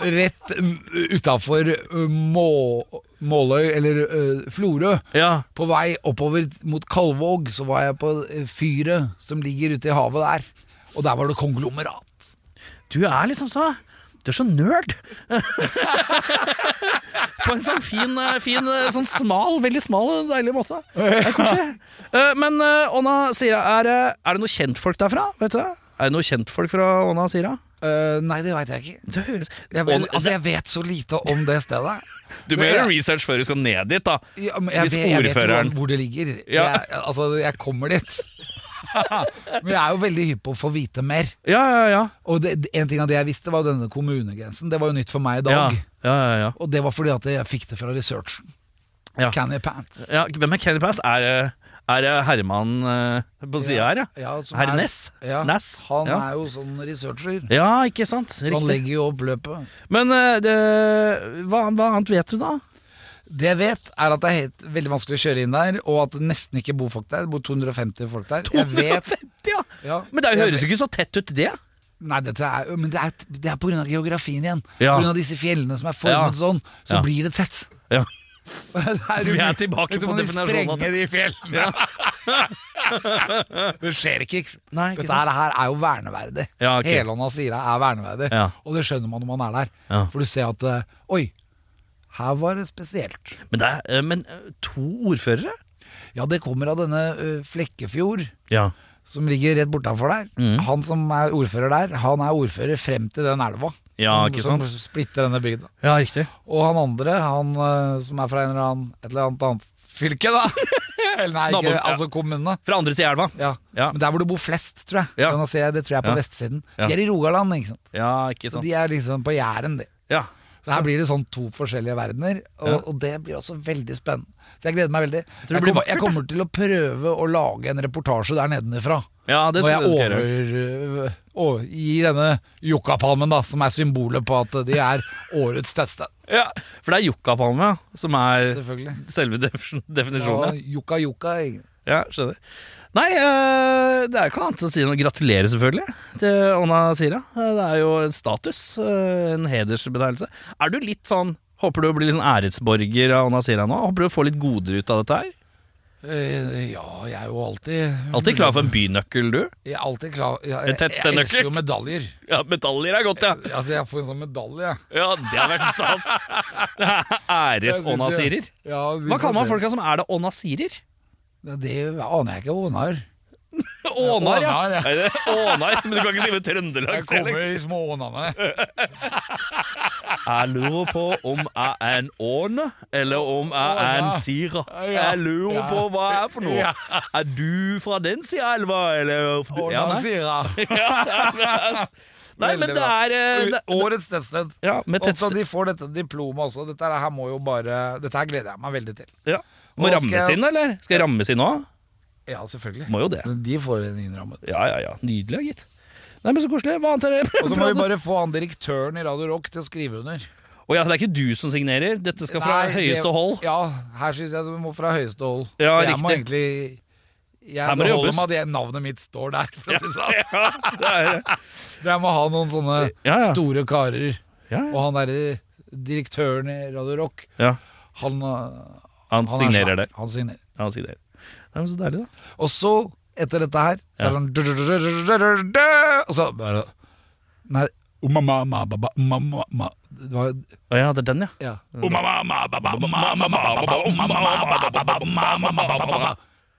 Speaker 6: rett mm, utafor eh, Må, Måløy, eller ø, Florø.
Speaker 7: Ja.
Speaker 6: På vei oppover mot Kalvåg så var jeg på ø, fyret som ligger ute i havet der. Og der var det konglomerat.
Speaker 7: Du er liksom så Du er så nerd. På en sånn fin, eh, fin eh, sånn smal, veldig smal, deilig måte. Det er koselig. Eh, Men eh, Åna Sira, er, eh, er det noen kjentfolk derfra? Vet du det? Er det noen kjentfolk fra Åna Sira?
Speaker 6: Eh, nei, det veit jeg ikke.
Speaker 7: Det høres
Speaker 6: Jeg, vet- altså, jeg vet så lite om det stedet.
Speaker 7: Du må
Speaker 6: Men
Speaker 7: gjøre
Speaker 6: jeg-
Speaker 7: research før du skal ned dit, da.
Speaker 6: Ja, men jeg,
Speaker 7: Hvis
Speaker 6: vet, jeg vet jo
Speaker 7: ordføreren-
Speaker 6: hvor det ligger.
Speaker 7: Ja.
Speaker 6: Jeg, altså, jeg kommer dit. Men jeg er jo veldig hypp på å få vite mer.
Speaker 7: Ja, ja, ja.
Speaker 6: Og det, en ting av det jeg visste var denne kommunegrensen Det var jo nytt for meg i
Speaker 7: Ja,
Speaker 6: dag
Speaker 7: ja, ja, ja.
Speaker 6: Og det var fordi at jeg fikk det fra researchen
Speaker 7: Ja.
Speaker 6: Canny Pants
Speaker 7: ja hvem er Kenny Pants? Er, det- er det Herman eh, på sida her, ja?
Speaker 6: Ja, som
Speaker 7: Herr
Speaker 6: er-
Speaker 7: Ness?
Speaker 6: ja,
Speaker 7: Ness?
Speaker 6: Han
Speaker 7: ja.
Speaker 6: er jo sånn researcher
Speaker 7: ja, ikke sant?
Speaker 6: Så han
Speaker 7: Riktig.
Speaker 6: legger jo opp løpet
Speaker 7: Men eh, det, hva, hva annet vet du, da?
Speaker 6: Det jeg vet er at det er helt, veldig vanskelig å kjøre inn der Og at det nesten ikke bor folk der Det bor 250 folk der Jeg vet
Speaker 7: 250, ja.
Speaker 6: Ja,
Speaker 7: Men det
Speaker 6: jeg
Speaker 7: høres jo ikke så tett ut, det.
Speaker 6: Nei, dette er, jo- men det er, det er på grunn av geografien igjen
Speaker 7: Ja.
Speaker 6: På grunn av disse fjellene som er
Speaker 7: Ja.
Speaker 6: formet sånn Så
Speaker 7: Ja.
Speaker 6: blir det tett
Speaker 7: Ja.
Speaker 6: Det er
Speaker 7: Vi er
Speaker 6: umulig.
Speaker 7: tilbake
Speaker 6: Vet du,
Speaker 7: på
Speaker 6: må de
Speaker 7: definisjonen av
Speaker 6: Sprenge de fjellene
Speaker 7: Ja.
Speaker 6: Det skjer ikke. ikke sant?
Speaker 7: Nei, ikke
Speaker 6: Dette
Speaker 7: sant.
Speaker 6: her- her er jo verneverdig.
Speaker 7: Ja, ok.
Speaker 6: Hele Åna Sira er verneverdig,
Speaker 7: Ja.
Speaker 6: og det skjønner man når man er der.
Speaker 7: Ja.
Speaker 6: For du ser at eh, Oi, her var det spesielt.
Speaker 7: Men, det er, eh, men eh, to ordførere?
Speaker 6: Ja, det kommer av denne eh, Flekkefjord,
Speaker 7: Ja.
Speaker 6: som ligger rett bortenfor der.
Speaker 7: Mm.
Speaker 6: Han som er ordfører der, han er ordfører frem til den elva.
Speaker 7: Ja,
Speaker 6: som-
Speaker 7: ikke sant.
Speaker 6: Som splitter denne bygda.
Speaker 7: Ja, riktig.
Speaker 6: Og han andre, han eh, som er fra en eller annen, et eller annet annet fylke, da. eller nei,
Speaker 7: Nabo-
Speaker 6: ikke,
Speaker 7: ja.
Speaker 6: altså kommune.
Speaker 7: Fra andre sida av elva?
Speaker 6: Ja.
Speaker 7: Ja.
Speaker 6: Men der hvor det bor flest, tror jeg.
Speaker 7: Ja.
Speaker 6: Den ser jeg, det tror jeg er på
Speaker 7: Ja.
Speaker 6: vestsiden.
Speaker 7: Ja.
Speaker 6: De er i Rogaland, ikke sant.
Speaker 7: Ja, ikke
Speaker 6: Så
Speaker 7: sant.
Speaker 6: de er liksom på Jæren, de.
Speaker 7: Ja.
Speaker 6: Så her blir det sånn to forskjellige verdener, og, og det blir også veldig spennende. Så jeg gleder meg veldig.
Speaker 7: tror det
Speaker 6: Jeg
Speaker 7: blir
Speaker 6: kommer, jeg kommer til å prøve å lage en reportasje der nedenifra.
Speaker 7: ja det
Speaker 6: Når
Speaker 7: skal
Speaker 6: jeg
Speaker 7: det skal jeg
Speaker 6: over,
Speaker 7: gjøre.
Speaker 6: øh, å- gir denne yuccapalmen, da, som er symbolet på at de er årets tettsted.
Speaker 7: Ja, for det er Yuccapalme som er
Speaker 6: Selvfølgelig.
Speaker 7: selve defin- definisjonen.
Speaker 6: Og yucca yucca. ikke-
Speaker 7: Ja, skjønner. Nei, eh, det er jo ikke annet å si enn å gratulere, selvfølgelig, til Onna Sira. Eh, Det er jo en status, eh, en hedersbetegnelse. Er du litt sånn Håper du blir litt sånn æresborger av Onna Sira nå? Håper du får litt goder ut av dette her?
Speaker 6: Eh, ja, jeg er jo alltid
Speaker 7: Alltid klar for en bynøkkel, du.
Speaker 6: Jeg er alltid klar ja,
Speaker 7: En
Speaker 6: jeg, jeg
Speaker 7: tettstednøkkel?
Speaker 6: elsker jo medaljer.
Speaker 7: Ja, Medaljer er godt, ja.
Speaker 6: Altså, jeg får en sånn medalje. jeg.
Speaker 7: Ja, Det hadde vært stas. Æresånasirer.
Speaker 6: Ja, vi
Speaker 7: Hva
Speaker 6: får
Speaker 7: kaller man
Speaker 6: se.
Speaker 7: folka som er det ånasirer?
Speaker 6: Ja, Det aner jeg ikke hva hun har.
Speaker 7: Ånar, ja.
Speaker 6: Ånar, ja.
Speaker 7: Er det Ånar, men du kan ikke skrive
Speaker 6: Jeg kommer
Speaker 7: trøndelagsdialekt.
Speaker 6: i små ånene.
Speaker 7: Jeg lurer på om jeg er en åne, eller om jeg er en
Speaker 6: Åna.
Speaker 7: sira.
Speaker 6: Ja.
Speaker 7: Jeg lurer på hva jeg er for noe.
Speaker 6: Ja.
Speaker 7: Er du fra den sida av elva, eller Ja,
Speaker 6: Åna,
Speaker 7: nei.
Speaker 6: sier jeg.
Speaker 7: Nei, men
Speaker 6: Veldig
Speaker 7: det
Speaker 6: bra.
Speaker 7: er eh, det-
Speaker 6: Årets tettsted.
Speaker 7: Ja, med
Speaker 6: Og så
Speaker 7: tettsted.
Speaker 6: de får dette diplomet også. Dette her, må jo bare, dette her gleder jeg meg veldig til.
Speaker 7: Ja. Må
Speaker 6: Og skal
Speaker 7: rammes
Speaker 6: jeg-
Speaker 7: inn, eller? Skal jeg rammes inn òg?
Speaker 6: Ja, selvfølgelig.
Speaker 7: Må jo det.
Speaker 6: Men De får en innrammet.
Speaker 7: Ja, ja, ja. Nydelig, gitt. Nei, men så koselig. Hva annet er det?
Speaker 6: Og så må vi bare få han direktøren i Radio Rock til å skrive under.
Speaker 7: Å ja, det er ikke du som signerer. Dette skal fra
Speaker 6: Nei, det-
Speaker 7: høyeste hold.
Speaker 6: Ja, her syns jeg det må fra høyeste hold.
Speaker 7: Ja,
Speaker 6: For jeg må
Speaker 7: riktig.
Speaker 6: egentlig jeg,
Speaker 7: Her må
Speaker 6: Det
Speaker 7: det
Speaker 6: holder
Speaker 7: jobbes.
Speaker 6: med at jeg- navnet mitt står der, for å si det sånn.
Speaker 7: Ja, det er,
Speaker 6: Jeg må ha noen sånne
Speaker 7: Ja, ja.
Speaker 6: store karer.
Speaker 7: ja,
Speaker 6: Og
Speaker 7: ja.
Speaker 6: han derre direktøren i Radio Rock,
Speaker 7: ja.
Speaker 6: han, eh, han,
Speaker 7: Han
Speaker 6: er svær.
Speaker 7: signerer der.
Speaker 6: Han signerer.
Speaker 7: Ja, han signerer. Nei, men så deilig, da.
Speaker 6: Og så, etter dette her, så er
Speaker 7: Ja.
Speaker 6: det sånn Og så bare Nei. umama, ma, ba, ba, umama, ma. Det var
Speaker 7: Å ja, det er den, ja.
Speaker 6: Ja.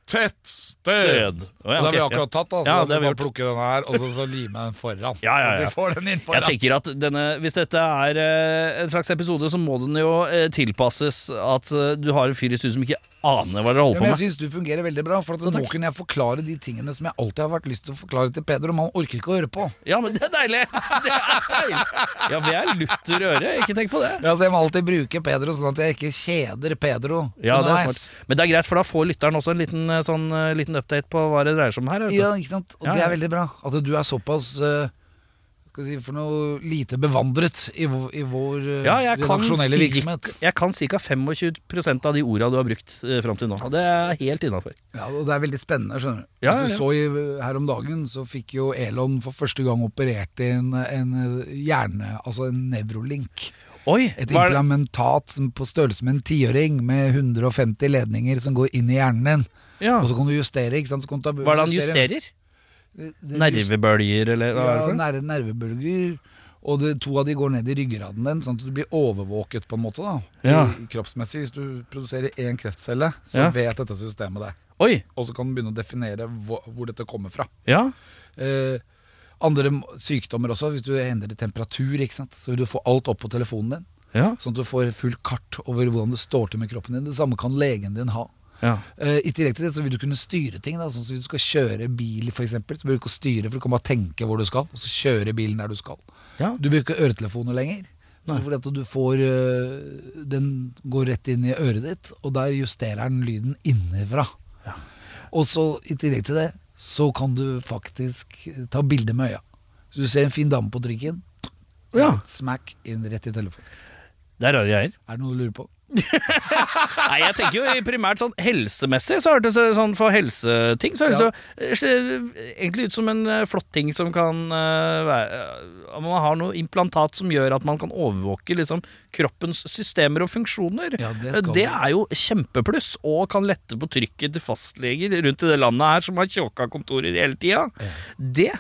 Speaker 6: Tettsted.
Speaker 7: Død. Å,
Speaker 6: Og
Speaker 7: ja,
Speaker 6: det har
Speaker 7: ok,
Speaker 6: vi
Speaker 7: ja.
Speaker 6: akkurat tatt, da. Så
Speaker 7: Ja,
Speaker 6: da
Speaker 7: det har
Speaker 6: må vi
Speaker 7: vi
Speaker 6: bare
Speaker 7: gjort.
Speaker 6: plukke den her, og så, så lime den foran.
Speaker 7: Ja, ja, ja.
Speaker 6: Vi får den inn
Speaker 7: Jeg
Speaker 6: foran.
Speaker 7: tenker at denne, Hvis dette er eh, en slags episode, så må den jo eh, tilpasses at eh, du har en fyr i studio som ikke aner hva dere
Speaker 6: Ja,
Speaker 7: holder
Speaker 6: men
Speaker 7: på
Speaker 6: jeg
Speaker 7: med.
Speaker 6: syns du fungerer veldig bra, for at nå kunne jeg forklare de tingene som jeg alltid har vært lyst til å forklare til Peder, om han orker ikke å høre på.
Speaker 7: Ja, men det er deilig! Det er deilig. Ja, vi er lutter øre. Ikke tenk på det.
Speaker 6: Ja, så Jeg må alltid bruke Pedro, sånn at jeg ikke kjeder Pedro.
Speaker 7: Ja, det er
Speaker 6: Nice.
Speaker 7: smart. Men det er greit, for da får lytteren også en liten, eh, sånn, eh, liten update på hva det dreier seg om her. vet du.
Speaker 6: Ja, ikke sant? Og
Speaker 7: Ja,
Speaker 6: det
Speaker 7: ja.
Speaker 6: er veldig bra. At du er såpass eh, skal vi si, for noe lite bevandret i, vår- i vår eh,
Speaker 7: Ja, jeg kan,
Speaker 6: redaksjonelle
Speaker 7: si-
Speaker 6: virksomhet.
Speaker 7: jeg kan ca. 25 av de orda du har brukt eh, fram til nå. Og det er helt innafor.
Speaker 6: Ja, og det er veldig spennende, skjønner du.
Speaker 7: Ja, ja.
Speaker 6: Hvis du så i, her om dagen, så fikk jo Elon for første gang operert inn en eh, hjerne, altså en nevrolink.
Speaker 7: Oi!
Speaker 6: Et
Speaker 7: hva er det-
Speaker 6: implementat som på størrelse med en tiåring, med 150 ledninger som går inn i hjernen din.
Speaker 7: ja.
Speaker 6: Og så kan du justere, ikke sant. Så kan du ta,
Speaker 7: Hva er det han justerer?
Speaker 6: Det- det-
Speaker 7: Nervebølger, eller hva er
Speaker 6: Ja,
Speaker 7: det for noe?
Speaker 6: nerve, nervebølger. Og det, to av de går ned i ryggraden din, sånn at du blir overvåket på en måte. da
Speaker 7: Ja.
Speaker 6: I- Kroppsmessig. Hvis du produserer én kreftcelle, så
Speaker 7: Ja.
Speaker 6: vet dette systemet det.
Speaker 7: Oi!
Speaker 6: Og så kan du begynne å definere hvor, hvor dette kommer fra.
Speaker 7: Ja.
Speaker 6: Eh, andre m- sykdommer også. Hvis du endrer temperatur, ikke sant? så vil du få alt opp på telefonen din.
Speaker 7: Ja.
Speaker 6: Sånn at du får fullt kart over hvordan det står til med kroppen din. Det samme kan legen din ha.
Speaker 7: ja.
Speaker 6: Eh, I tillegg til det så vil du kunne styre ting. Da. Sånn som Hvis du skal kjøre bil, for eksempel, så bør du ikke styre, for du kan bare tenke hvor du skal, og så kjøre bilen der du skal.
Speaker 7: Ja.
Speaker 6: Du bruker ikke øretelefoner lenger. Så Fordi at du får eh, Den går rett inn i øret ditt, og der justerer den lyden innenfra. Og så, i tillegg til det, så kan du faktisk ta bilde med øya. Så du ser en fin dame på trikken,
Speaker 7: ja.
Speaker 6: smack inn rett i telefonen.
Speaker 7: Det er rare greier.
Speaker 6: Er det noe du lurer på?
Speaker 7: Nei, jeg tenker jo i primært sånn helsemessig, så hørtes det sånn for helseting Så hørtes
Speaker 6: Ja.
Speaker 7: det sl- egentlig ut som en eh, flott ting som kan eh, være eh, At man har noe implantat som gjør at man kan overvåke liksom, kroppens systemer og funksjoner.
Speaker 6: Ja, det
Speaker 7: Eh,
Speaker 6: skal
Speaker 7: det
Speaker 6: du.
Speaker 7: er jo kjempepluss, og kan lette på trykket til fastleger rundt i det landet her som har tjåka kontorer hele tida. Det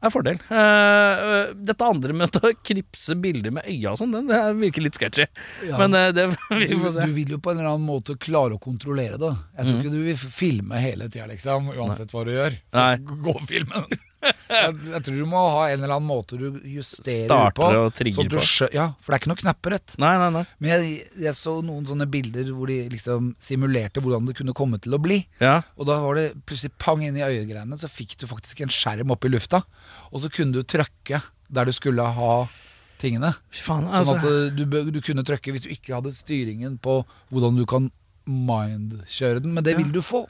Speaker 7: er fordel. Eh, eh, dette andre med å knipse bilder med øya og sånn, den- det virker litt sketchy.
Speaker 6: Ja.
Speaker 7: Men eh, det vi
Speaker 6: du,
Speaker 7: får se. Mm.
Speaker 6: du vil jo på en eller annen måte klare å kontrollere det. Jeg tror ikke du vil f- filme hele tida, liksom, uansett hva du gjør. Så
Speaker 7: Nei.
Speaker 6: g- gå og film den. Jeg, jeg tror du må ha en eller annen måte du justerer
Speaker 7: Starter
Speaker 6: på.
Speaker 7: og trigger
Speaker 6: sånn at du
Speaker 7: på.
Speaker 6: skjø- Ja, for det er ikke noe knapperett.
Speaker 7: Nei, nei, nei.
Speaker 6: Men jeg, jeg så noen sånne bilder hvor de liksom simulerte hvordan det kunne komme til å bli.
Speaker 7: Ja.
Speaker 6: Og da var det plutselig pang inn i øyegreiene, så fikk du faktisk en skjerm opp i lufta. Og så kunne du trykke der du skulle ha tingene.
Speaker 7: Fy faen,
Speaker 6: Sånn
Speaker 7: altså.
Speaker 6: at eh, du, bø- du kunne trykke hvis du ikke hadde styringen på hvordan du kan mind-kjøre den, men det vil du få.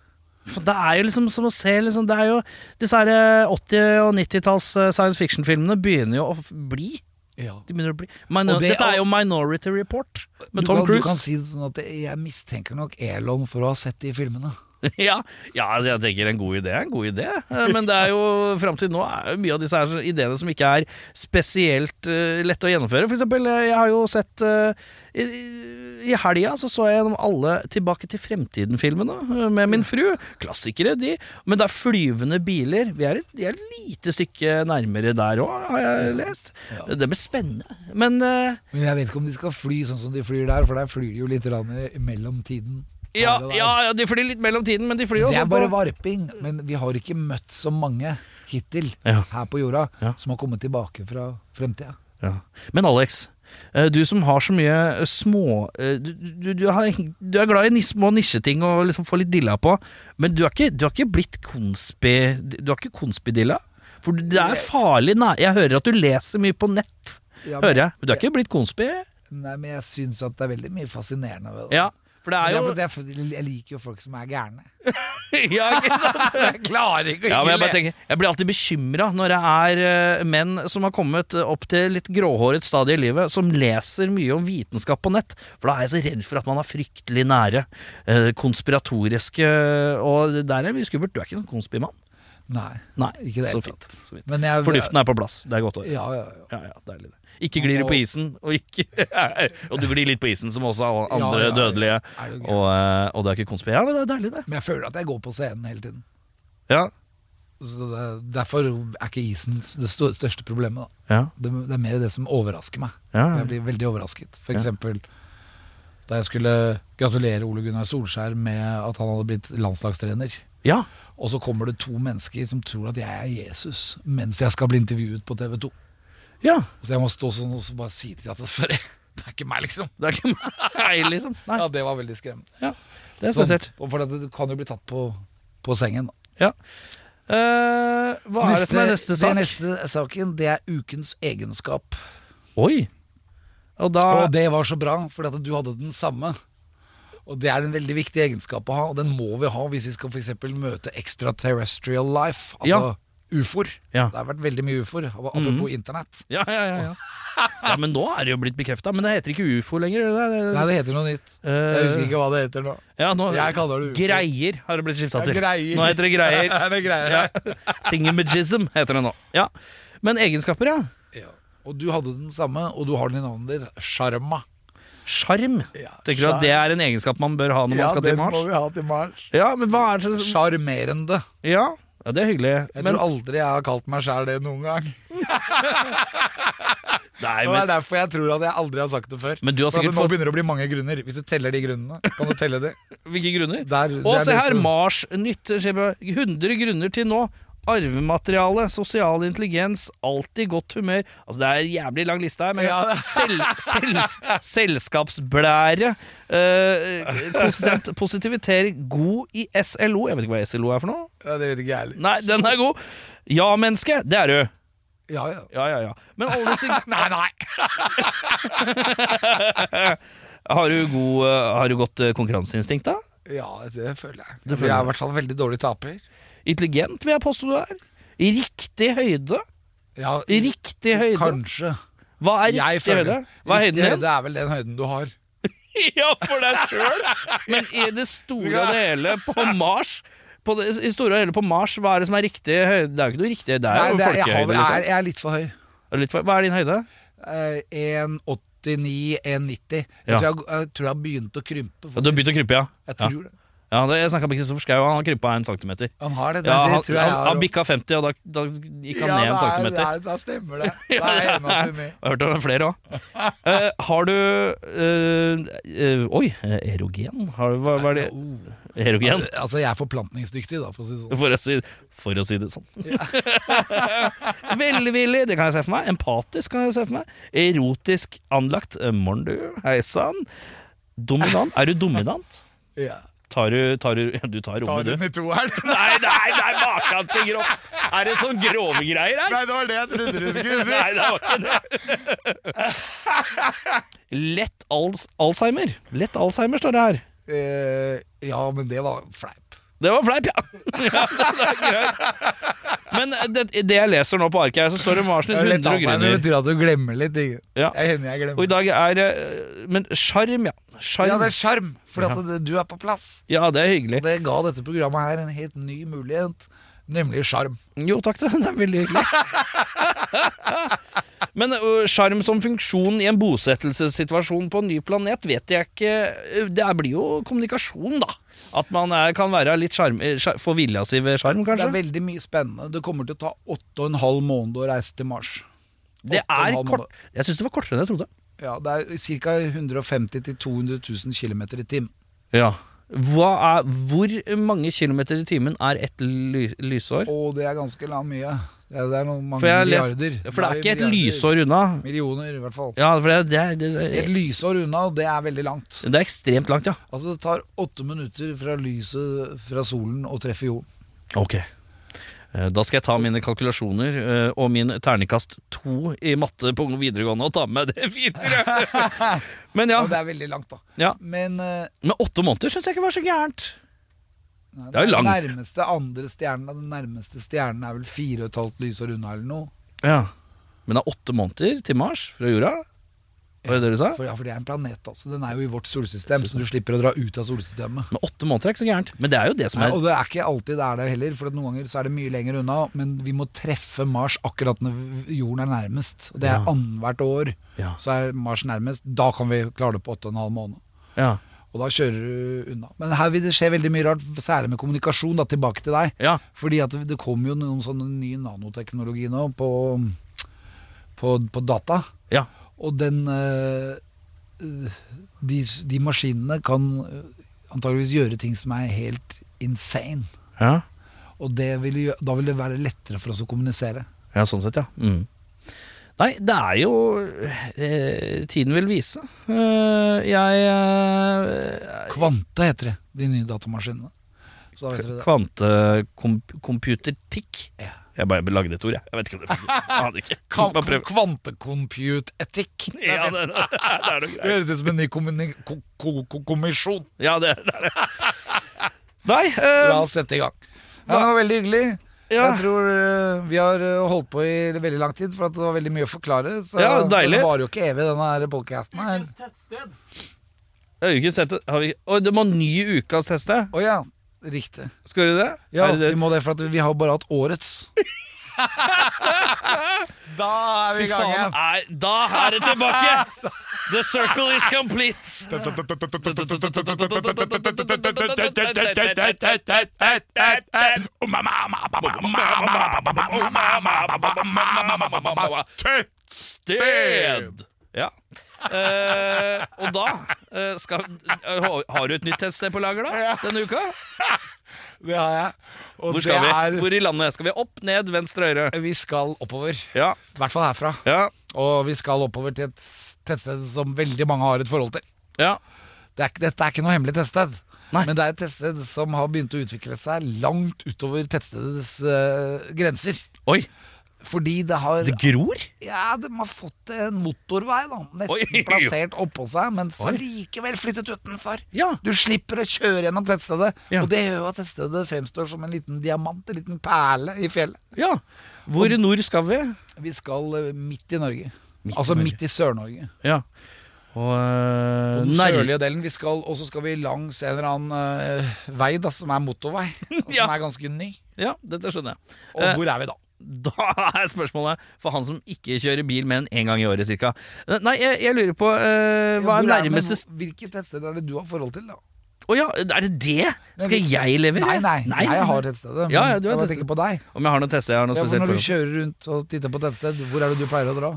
Speaker 7: For det er jo liksom som å se liksom, Det er jo disse her eh, 80- og 90-talls eh, science fiction-filmene begynner jo å f- bli. De begynner å bli. Mino
Speaker 6: Og det-
Speaker 7: Dette er jo Minority Report
Speaker 6: Du
Speaker 7: med Tom
Speaker 6: kan, du
Speaker 7: Cruise.
Speaker 6: kan si det sånn at jeg mistenker nok Elon for å ha sett de filmene.
Speaker 7: ja, ja, altså, jeg tenker en god idé er en god idé. Eh, Men det er jo fram til nå er jo mye av disse her ideene som ikke er spesielt eh, lette å gjennomføre. For eksempel, eh, jeg har jo sett eh, i- I helga så, så jeg gjennom alle Tilbake til fremtiden-filmene eh, med min fru. Klassikere, de. Men det er flyvende biler. Vi er et, de er et lite stykke nærmere der òg, har jeg lest. Det blir spennende. Men eh,
Speaker 6: Men jeg vet ikke om de skal fly sånn som de flyr der, for der flyr de jo litt rann i mellomtiden.
Speaker 7: ja,
Speaker 6: Her og der.
Speaker 7: ja, ja, de flyr litt mellom tiden, men de flyr jo
Speaker 6: Det er
Speaker 7: sånn
Speaker 6: bare
Speaker 7: på-
Speaker 6: varping, men vi har ikke møtt så mange hittil
Speaker 7: Ja.
Speaker 6: her på jorda
Speaker 7: Ja.
Speaker 6: som har kommet tilbake fra fremtida.
Speaker 7: Ja. Men Alex, eh, du som har så mye eh, små eh, Du, du, du, har, du er glad i nis- små nisjeting og liksom får litt dilla på, men du har ikke, du har ikke blitt konspi... Du har ikke konspidilla? For det er farlig nær... Jeg hører at du leser mye på nett,
Speaker 6: Ja, men-
Speaker 7: hører jeg. Men du har ikke blitt konspi?
Speaker 6: Nei, men jeg syns at det er veldig mye fascinerende ved det.
Speaker 7: Ja. For det
Speaker 6: Det
Speaker 7: er
Speaker 6: er
Speaker 7: jo
Speaker 6: fordi jeg, jeg liker jo folk som er gærne.
Speaker 7: ja, ikke sant?
Speaker 6: Jeg klarer ikke å
Speaker 7: Ja, men
Speaker 6: ikke
Speaker 7: jeg, bare
Speaker 6: le.
Speaker 7: tenker, jeg blir alltid bekymra når det er eh, menn som har kommet eh, opp til litt gråhåret stadie i livet, som leser mye om vitenskap på nett. For da er jeg så redd for at man er fryktelig nære eh, konspiratoriske Og det der er mye skummelt. Du er ikke en sånn konspimann.
Speaker 6: Nei,
Speaker 7: Nei,
Speaker 6: ikke det
Speaker 7: så
Speaker 6: hele
Speaker 7: fint.
Speaker 6: tatt.
Speaker 7: Så fint.
Speaker 6: Men jeg,
Speaker 7: Fornuften er på plass. Det er godt å høre.
Speaker 6: Ja, ja, ja.
Speaker 7: Ja, ja, deilig det. Ikke glir du på isen, og ikke Og du glir litt på isen, som også alle andre
Speaker 6: Ja, ja, ja.
Speaker 7: dødelige.
Speaker 6: Er det jo gøy.
Speaker 7: Og, eh, og det er ikke konspi... Ja, men det er deilig, det.
Speaker 6: Men jeg føler at jeg går på scenen hele tiden.
Speaker 7: Ja,
Speaker 6: Så det, derfor er ikke isen det sto- største problemet. Da.
Speaker 7: ja,
Speaker 6: Det, det er mer det som overrasker meg.
Speaker 7: ja.
Speaker 6: Jeg blir veldig overrasket. For eksempel da jeg skulle gratulere Ole Gunnar Solskjær med at han hadde blitt landslagstrener.
Speaker 7: ja.
Speaker 6: Og så kommer det to mennesker som tror at jeg er Jesus mens jeg skal bli intervjuet på TV 2.
Speaker 7: ja.
Speaker 6: Så jeg må stå sånn og så bare si til dem at sorry, det er ikke meg, liksom.
Speaker 7: Det er ikke meg, liksom. Nei,
Speaker 6: Ja, Det var veldig skremmende.
Speaker 7: ja. Det er spesielt.
Speaker 6: Sånn, og for det, du kan jo bli tatt på, på sengen.
Speaker 7: Ja. Eh, hva er det som er neste sak?
Speaker 6: Det neste saken, det er ukens egenskap.
Speaker 7: Oi! Og da
Speaker 6: Og det var så bra, for at du hadde den samme. Og det er en veldig viktig egenskap å ha, og den må vi ha hvis vi skal for eksempel møte extraterrestrial life, altså
Speaker 7: Ja.
Speaker 6: ufoer.
Speaker 7: Ja. Mhm.
Speaker 6: Det har vært veldig mye ufoer, apropos internett.
Speaker 7: ja, ja, ja, ja. ja, men nå er det jo blitt bekrefta. Men det heter ikke ufo lenger. gjør Det, det,
Speaker 6: Nei, det heter noe nytt. Jeg husker ikke hva det heter nå.
Speaker 7: ja, nå,
Speaker 6: Jeg kaller det ufo.
Speaker 7: Greier har det blitt skifta
Speaker 6: Ja,
Speaker 7: til.
Speaker 6: greier.
Speaker 7: Nå heter det greier.
Speaker 6: Er det greier?
Speaker 7: Ja. Thingamajism heter det nå. Ja. Men egenskaper, ja.
Speaker 6: Ja. Og du hadde den samme, og du har den i navnet ditt, Sharma.
Speaker 7: Sjarm.
Speaker 6: Ja,
Speaker 7: Tenker du at
Speaker 6: sjarm.
Speaker 7: det er en egenskap man bør ha når man skal til
Speaker 6: den må
Speaker 7: Mars?
Speaker 6: vi ha til Mars.
Speaker 7: Ja, men hva er det som
Speaker 6: Sjarmerende.
Speaker 7: ja. ja, det er hyggelig.
Speaker 6: Jeg
Speaker 7: men,
Speaker 6: tror aldri jeg har kalt meg sjæl det noen gang.
Speaker 7: nei,
Speaker 6: Og Det
Speaker 7: men,
Speaker 6: er derfor jeg tror at jeg aldri har sagt det før.
Speaker 7: Men du har
Speaker 6: For at
Speaker 7: sikkert
Speaker 6: Nå
Speaker 7: fått-
Speaker 6: begynner det å bli mange grunner. Hvis du teller de grunnene, kan du telle de.
Speaker 7: Hvilke grunner?
Speaker 6: Der-
Speaker 7: og
Speaker 6: der
Speaker 7: se her,
Speaker 6: leser-
Speaker 7: Mars nytt skjer på- 100 grunner til nå. Arvemateriale, sosial intelligens, alltid godt humør. Altså Det er en jævlig lang liste her, men
Speaker 6: Ja, det-
Speaker 7: sel, sels, selskapsblære, eh, konsistent positivitering, god i SLO Jeg vet ikke hva SLO er for noe?
Speaker 6: Ja, det vet ikke jeg heller.
Speaker 7: Nei, den er god. Ja-menneske, det er du.
Speaker 6: Ja, ja.
Speaker 7: Ja, ja, ja. Men alle disse
Speaker 6: Nei, nei!
Speaker 7: Har du, god, eh, har du godt eh, konkurranseinstinkt, da?
Speaker 6: Ja, det føler jeg.
Speaker 7: føler
Speaker 6: jeg
Speaker 7: jeg.
Speaker 6: er i hvert fall veldig dårlig taper.
Speaker 7: Intelligent, vil jeg påstå du er. I riktig høyde.
Speaker 6: Ja,
Speaker 7: I riktig høyde.
Speaker 6: Kanskje.
Speaker 7: Hva er
Speaker 6: Jeg
Speaker 7: riktig høyde?
Speaker 6: føler
Speaker 7: Hva er
Speaker 6: Riktig
Speaker 7: høyden din?
Speaker 6: høyde er vel den høyden du har.
Speaker 7: ja, for deg sjøl! Men i det store og det hele på Mars på det, I store og hele på Mars, hva er det som er riktig høyde? Det er jo ikke noe riktig, det er
Speaker 6: Nei,
Speaker 7: jo
Speaker 6: det er, jeg, har,
Speaker 7: folkehøyde.
Speaker 6: jeg, er,
Speaker 7: Liksom.
Speaker 6: jeg er litt for høy.
Speaker 7: Er det litt for- Hva er din høyde?
Speaker 6: Eh, 1,89, 1,90. Jeg,
Speaker 7: Ja.
Speaker 6: tror jeg, jeg tror jeg har begynt å krympe.
Speaker 7: Ja, Du har begynt å krympe, ja?
Speaker 6: Jeg
Speaker 7: Ja.
Speaker 6: tror det.
Speaker 7: ja det, jeg snakka med Kristoffer Schou, han har krympa en centimeter.
Speaker 6: Han har det. det,
Speaker 7: Ja, han,
Speaker 6: det tror jeg
Speaker 7: han,
Speaker 6: jeg har
Speaker 7: han
Speaker 6: også.
Speaker 7: bikka 50, og da, da gikk han
Speaker 6: Ja,
Speaker 7: ned en
Speaker 6: da er-
Speaker 7: centimeter.
Speaker 6: da er- Da stemmer det. Da er jeg
Speaker 7: Ja, det er-
Speaker 6: 1,89.
Speaker 7: Jeg har hørt om flere òg. har du eh, eh, Oi, erogen? Har, du- hva, hva er det? Erogen?
Speaker 6: oh, Altså, jeg er forplantningsdyktig, da, for å si det sånn.
Speaker 7: For å si, for å si det sånn. Velvillig, det kan jeg se for meg. Empatisk kan jeg se for meg. Erotisk anlagt. Eh, Morn, du. Hei sann. Dominant. Er du dominant?
Speaker 6: Ja.
Speaker 7: Tar du, tar du, du tar
Speaker 6: Tar
Speaker 7: rommet,
Speaker 6: hun
Speaker 7: du.
Speaker 6: i toeren?
Speaker 7: Nei, nei, nei, makan til grovt! Er det sånn grove greier her?
Speaker 6: Nei, det var det jeg trodde du skulle si.
Speaker 7: Nei, det var ikke det. Lett als Alzheimer. Lett Alzheimer står det her.
Speaker 6: Eh, ja, men det var fleip.
Speaker 7: Det var fleip, ja. ja det er greit. Men det, det jeg leser nå på arket, her, så står det Marsen i 100
Speaker 6: Litt avfeil, men det
Speaker 7: grunner.
Speaker 6: betyr at du glemmer litt. Ikke?
Speaker 7: Ja.
Speaker 6: Jeg hender jeg
Speaker 7: Og
Speaker 6: glemmer.
Speaker 7: i dag er det- Men sjarm, ja.
Speaker 6: Ja,
Speaker 7: Sjarm.
Speaker 6: det er sjarm, for at det- du er på plass.
Speaker 7: Ja, det er hyggelig.
Speaker 6: Det ga dette programmet her en helt ny mulighet, nemlig sjarm.
Speaker 7: Jo takk, det det er veldig hyggelig. Men ø, sjarm som funksjon i en bosettelsessituasjon på en ny planet vet jeg ikke Ø, Det er- blir jo kommunikasjon, da. At man er, kan være litt sjarm... eh, sjar- Få vilja si ved sjarm,
Speaker 6: Det er
Speaker 7: kanskje?
Speaker 6: veldig mye spennende. Det kommer til å ta åtte og en halv måned å reise til Mars.
Speaker 7: Det
Speaker 6: åtte og en
Speaker 7: er
Speaker 6: halv
Speaker 7: kort.
Speaker 6: måned.
Speaker 7: Jeg syns det var kortere enn jeg trodde.
Speaker 6: Ja, det er ca. 150 000-200 000 km i timen.
Speaker 7: Ja. Hva er, hvor mange kilometer i timen er ett ly lysår?
Speaker 6: Og det er ganske la- mye. Det er, det er noen mange
Speaker 7: For, jeg har lest,
Speaker 6: milliarder.
Speaker 7: for det er ikke et
Speaker 6: milliarder.
Speaker 7: lysår unna.
Speaker 6: Millioner, i hvert fall.
Speaker 7: Ja, for det, det, det,
Speaker 6: Et
Speaker 7: det,
Speaker 6: lysår unna, og det er veldig langt.
Speaker 7: det er ekstremt langt, ja.
Speaker 6: Altså Det tar åtte minutter fra lyset fra solen å treffe jorden.
Speaker 7: Ok Eh, Da skal jeg ta mine kalkulasjoner eh, og min ternekast 2 i matte på videregående og ta med det videre. Men ja,
Speaker 6: Og det er veldig langt, da.
Speaker 7: ja.
Speaker 6: Men eh,
Speaker 7: Men åtte måneder syns jeg ikke var så gærent.
Speaker 6: nei,
Speaker 7: Det er jo langt.
Speaker 6: nærmeste andre stjernen Den nærmeste stjernen er vel fire og et halvt lysår unna, eller noe.
Speaker 7: Ja. Men det er åtte måneder til Mars fra jorda? Var det det du sa?
Speaker 6: For, ja, for det er en planet, altså. Den er jo i vårt solsystem, så du slipper å dra ut av solsystemet.
Speaker 7: Men åtte måneder er ikke så gærent. Men det er jo det som
Speaker 6: Nei,
Speaker 7: er
Speaker 6: og det er ikke alltid det er det heller, for at noen ganger så er det mye lenger unna. Men vi må treffe Mars akkurat når jorden er nærmest. Og det er
Speaker 7: Ja.
Speaker 6: annethvert år.
Speaker 7: Ja.
Speaker 6: Så er Mars nærmest. Da kan vi klare det på åtte og en halv måned.
Speaker 7: Ja.
Speaker 6: Og da kjører du unna. Men her vil det skje veldig mye rart, særlig med kommunikasjon, da, tilbake til deg.
Speaker 7: ja.
Speaker 6: Fordi at det kommer jo noen sånne ny nanoteknologi nå på, på, på data.
Speaker 7: ja.
Speaker 6: Og den eh, eh, de, de maskinene kan eh, antageligvis gjøre ting som er helt insane.
Speaker 7: ja.
Speaker 6: Og det vil jo, da vil det være lettere for oss å kommunisere.
Speaker 7: Ja, sånn sett, ja. Mm. Nei, det er jo eh, Tiden vil vise. Eh, jeg eh,
Speaker 6: Kvante heter det, de nye datamaskinene. Så da vet dere det.
Speaker 7: Kvantekomputertikk. Jeg bare lagde et ord, jeg. Jeg vet ikke om det aner ikke.
Speaker 6: Ka-
Speaker 7: Bare prøv.
Speaker 6: Kvantecompute-etikk. Det
Speaker 7: Ja,
Speaker 6: er
Speaker 7: det, det, det er noe
Speaker 6: Det
Speaker 7: greier.
Speaker 6: høres ut som en ny kommuni- ko- ko- ko- kommisjon.
Speaker 7: Ja, det, det er det. Nei, eh,
Speaker 6: La oss sette i gang. Ja, det var veldig hyggelig.
Speaker 7: ja,
Speaker 6: Jeg tror eh, Vi har eh, holdt på i veldig lang tid, for at det var veldig mye å forklare. Så
Speaker 7: Ja, deilig.
Speaker 6: det varer jo ikke evig, denne podkasten her.
Speaker 7: ukens teste har vi Oi, det må ny ukas teste.
Speaker 6: Å ja. Riktig.
Speaker 7: Skal du det?
Speaker 6: Ja,
Speaker 7: Er det
Speaker 6: vi
Speaker 7: det?
Speaker 6: må det, for at vi har bare hatt årets. da er vi i gang igjen.
Speaker 7: Nei, da er det tilbake! The circle is complete. Tøttsted! Ja. Eh, og da eh, skal, eh, ha- Har du et nytt tettsted på lager da, denne uka?
Speaker 6: Det har jeg. Og
Speaker 7: Hvor skal
Speaker 6: det
Speaker 7: vi?
Speaker 6: er
Speaker 7: Hvor i landet? Skal vi opp, ned, venstre, høyre?
Speaker 6: Vi skal oppover.
Speaker 7: Ja.
Speaker 6: I hvert fall herfra.
Speaker 7: Ja.
Speaker 6: Og vi skal oppover til et tettsted som veldig mange har et forhold til.
Speaker 7: ja.
Speaker 6: Det er, ikke- dette er ikke noe hemmelig tettsted.
Speaker 7: Nei.
Speaker 6: Men det er et tettsted som har begynt å utvikle seg langt utover tettstedets eh, grenser.
Speaker 7: Oi,
Speaker 6: Fordi det har
Speaker 7: det gror?
Speaker 6: Ja, de har fått en motorvei, da. Nesten
Speaker 7: Oi.
Speaker 6: plassert oppå seg, men så
Speaker 7: Oi.
Speaker 6: likevel flyttet utenfor.
Speaker 7: Ja.
Speaker 6: Du slipper å kjøre gjennom tettstedet,
Speaker 7: Ja.
Speaker 6: og det gjør jo at tettstedet fremstår som en liten diamant, en liten perle i fjellet.
Speaker 7: ja. Hvor i nord skal vi?
Speaker 6: Vi skal eh, midt i Norge.
Speaker 7: Midt i
Speaker 6: altså
Speaker 7: Norge. Eh,
Speaker 6: midt i Sør-Norge.
Speaker 7: Ja. Og eh,
Speaker 6: På den
Speaker 7: nær-
Speaker 6: sørlige delen. Vi skal, og så skal vi langs en eller annen eh, vei da, som er motorvei, og som
Speaker 7: Ja.
Speaker 6: er ganske ny.
Speaker 7: Ja, dette skjønner jeg.
Speaker 6: Og
Speaker 7: Eh,
Speaker 6: hvor er vi da?
Speaker 7: Da er spørsmålet for han som ikke kjører bil mer enn én gang i året ca. Nei, jeg, jeg lurer på eh, Hva
Speaker 6: Hvor
Speaker 7: er
Speaker 6: er vi-
Speaker 7: nærmeste st-
Speaker 6: Hvilket tettsted er det du har forhold til, da?
Speaker 7: Å ja, er det det? Skal jeg levere?
Speaker 6: Nei, nei, jeg har tettstedet. Men
Speaker 7: Ja, ja, du har
Speaker 6: jeg bare
Speaker 7: tettsted.
Speaker 6: tenker på deg.
Speaker 7: Om jeg har noe teste jeg har noe
Speaker 6: Ja, for
Speaker 7: spesielt
Speaker 6: når du
Speaker 7: forhold til?
Speaker 6: kjører rundt og titter på tettsted, hvor er det du pleier å dra?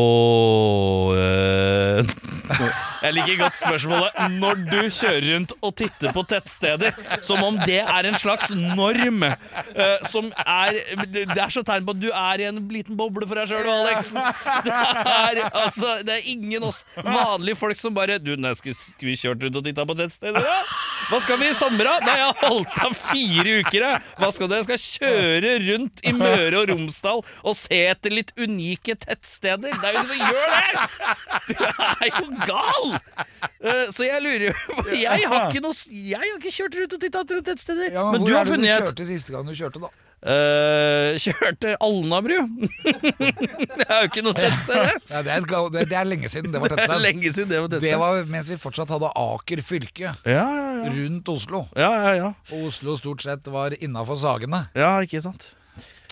Speaker 7: Åh, øh, Jeg liker godt spørsmålet. Når du kjører rundt og titter på tettsteder, som om det er en slags norm øh, som er Det er så tegn på at du er i en liten boble for deg sjøl, Alex. Det er, altså, det er ingen oss vanlige folk som bare Du, nei, skal, skal vi kjørt rundt og titta på tettsteder, da? Hva skal vi i sommer, da? Nei, jeg har holdt av fire uker, jeg. Hva skal du? Jeg skal kjøre rundt i Møre og Romsdal og se etter litt unike tettsteder. Det er jo ingen som gjør det! Du er jo gal! Eh, Så jeg lurer jo Jeg har ikke noe Jeg har ikke kjørt rundt og titta rundt tettsteder.
Speaker 6: Ja,
Speaker 7: men du
Speaker 6: hvor
Speaker 7: har
Speaker 6: er det
Speaker 7: funnet
Speaker 6: du
Speaker 7: et
Speaker 6: kjørte siste gang du kjørte, da?
Speaker 7: Eh, Kjørte Alnabru. Det er jo ikke noe tettsted, det.
Speaker 6: Nei, det, er et, ga- det, det er lenge siden det var
Speaker 7: Det er
Speaker 6: tettsted.
Speaker 7: lenge siden det var
Speaker 6: Det
Speaker 7: tettsted.
Speaker 6: var mens vi fortsatt hadde Aker fylke
Speaker 7: Ja, ja, ja.
Speaker 6: rundt Oslo.
Speaker 7: ja, ja, ja.
Speaker 6: Og Oslo stort sett var innafor Sagene.
Speaker 7: ja ikke sant.